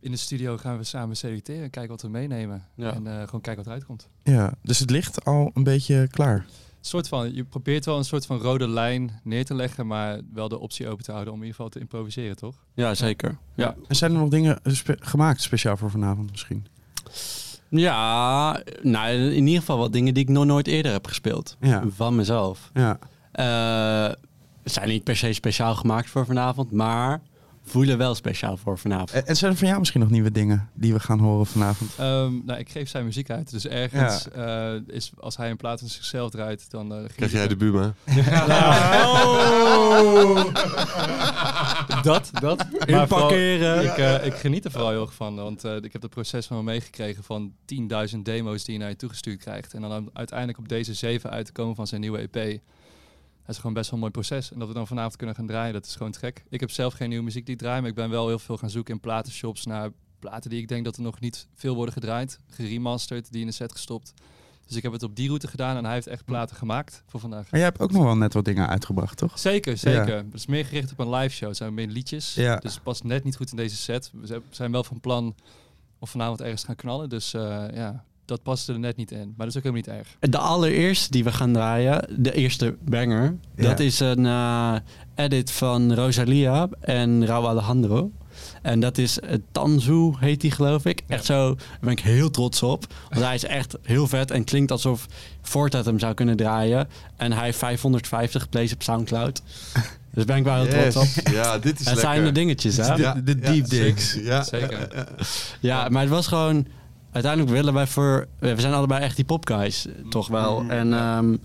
in de studio gaan we samen selecteren. Kijken wat we meenemen. En eh, gewoon kijken wat eruit komt.
Ja, dus het ligt al een beetje klaar.
soort van, je probeert wel een soort van rode lijn neer te leggen, maar wel de optie open te houden om in ieder geval te improviseren, toch?
Ja, zeker. Ja.
En zijn er nog dingen spe- gemaakt speciaal voor vanavond misschien?
Ja, nou, in ieder geval wat dingen die ik nog nooit eerder heb gespeeld.
Ja.
Van mezelf.
Ja.
Eh, zijn niet per se speciaal gemaakt voor vanavond, maar voelen wel speciaal voor vanavond.
Eh, En, en zijn er van jou misschien nog nieuwe dingen die we gaan horen vanavond?
Ehm, nou, ik geef zijn muziek uit, dus ergens eh, is als hij een plaat van zichzelf draait, dan eh, geef
Krijg
ik
jij
hem.
de Buma?
Ja. Nou. Dat, dat. Maar vooral,
Inparkeren.
ik, eh, ik geniet er vooral heel erg van, want eh, ik heb het proces van me meegekregen van 10.000 demo's die je naar je toegestuurd krijgt. En dan om uiteindelijk op deze 7 uit te komen van zijn nieuwe EP. Dat is gewoon best wel een mooi proces. En dat we dan vanavond kunnen gaan draaien, dat is gewoon te gek. Ik heb zelf geen nieuwe muziek die ik draai, maar ik ben wel heel veel gaan zoeken in platenshops naar platen die ik denk dat er nog niet veel worden gedraaid. Geremasterd, die in de set gestopt. Dus ik heb het op die route gedaan en hij heeft echt platen gemaakt voor vandaag.
Maar jij hebt ook nog wel net wat dingen uitgebracht, toch?
Zeker, zeker.
Ja.
Het is meer gericht op een live show. Het zijn meer liedjes.
Ja.
Dus het past net niet goed in deze set. We zijn- zijn wel van plan of vanavond ergens gaan knallen. Dus eh, ja, dat past er net niet in. Maar dat is ook helemaal niet erg.
De allereerste die we gaan draaien, de eerste banger,
Ja.
dat is een eh, edit van Rosalia en Raúl Alejandro. En dat is eh, Tanzu, heet die geloof ik. Echt zo, daar ben ik heel trots op. Want hij is echt heel vet en klinkt alsof Fortat hem zou kunnen draaien. En hij heeft 550 plays op Soundcloud. Dus ben ik wel heel
Yes.
trots op.
Ja, dit is
Het zijn de
lekker.
dingetjes, hè?
Dit is de- de Ja, deep zeker. digs. Ja. Zeker.
Ja. Ja, maar het was gewoon. Uiteindelijk willen wij voor. We zijn allebei echt die popguys, eh, toch wel. En ehm,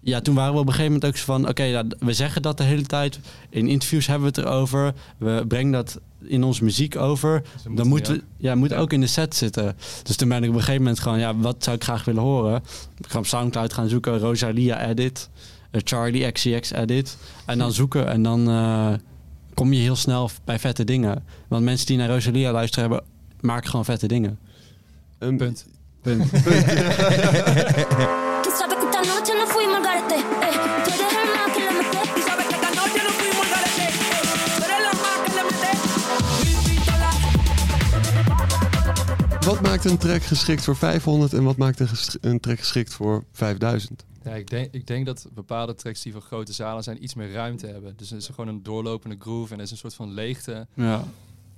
ja, toen waren we op een gegeven moment ook zo van. Oké, nou, d- we zeggen dat de hele tijd. In interviews hebben we het erover. We brengen dat in onze muziek over. Dan moeten we. Ja, moet ook in de set zitten. Dus toen ben ik op een gegeven moment gewoon. Ja, wat zou ik graag willen horen? Ik ga op Soundcloud gaan zoeken. Rosalia edit. eh, Charlie XCX edit. En dan zoeken en dan. eh, kom je heel snel bij vette dingen. Want mensen die naar Rosalia luisteren hebben, maken gewoon vette dingen.
Punt.
Punt.
Tú sabes que esta noche nos fuimos al garete. Eh, tú eres el más que le metes. Tú sabes que esta noche nos fuimos al garete. Eh, tú eres la más que le metes.
Wat maakt een track geschikt voor 500 en wat maakt een, ges- een track geschikt voor 5000?
Ja, ik, denk, ik denk dat bepaalde tracks die voor grote zalen zijn iets meer ruimte hebben. Dus er is gewoon een doorlopende groove en er is een soort van leegte.
Ja.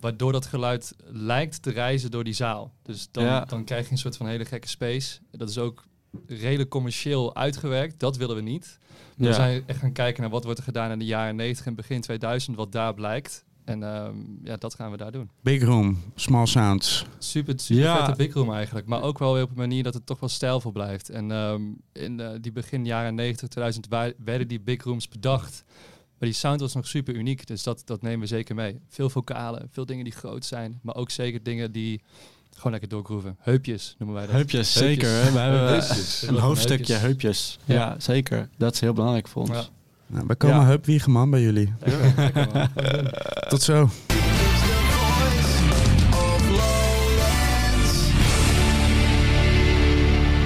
Waardoor dat geluid lijkt te reizen door die zaal. Dus dan,
Ja.
dan krijg je een soort van hele gekke space. Dat is ook redelijk commercieel uitgewerkt. Dat willen we niet. We
Ja.
zijn echt gaan kijken naar wat wordt er gedaan in de jaren 90 en begin 2000. Wat daar blijkt. En ehm, ja, dat gaan we daar doen.
Big Room, Small Sounds.
Super, super
Ja.
vette big room eigenlijk. Maar ook wel weer op een manier dat het toch wel stijlvol blijft. En ehm, in eh, die begin jaren 90, 2000 wa- werden die big rooms bedacht. Maar die sound was nog super uniek. Dus dat, dat nemen we zeker mee. Veel vocalen, veel dingen die groot zijn. Maar ook zeker dingen die gewoon lekker doorgroeven. Heupjes noemen wij dat.
Heupjes, zeker. Hè? We hebben
Heupjes.
een hoofdstukje heupjes. Ja. zeker. Dat is heel belangrijk voor ons.
Ja.
Nou, we komen
Ja.
heupwiegen, man, bij jullie. Tot zo.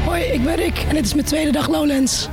Hoi, ik ben Rick en dit is mijn tweede dag Lowlands.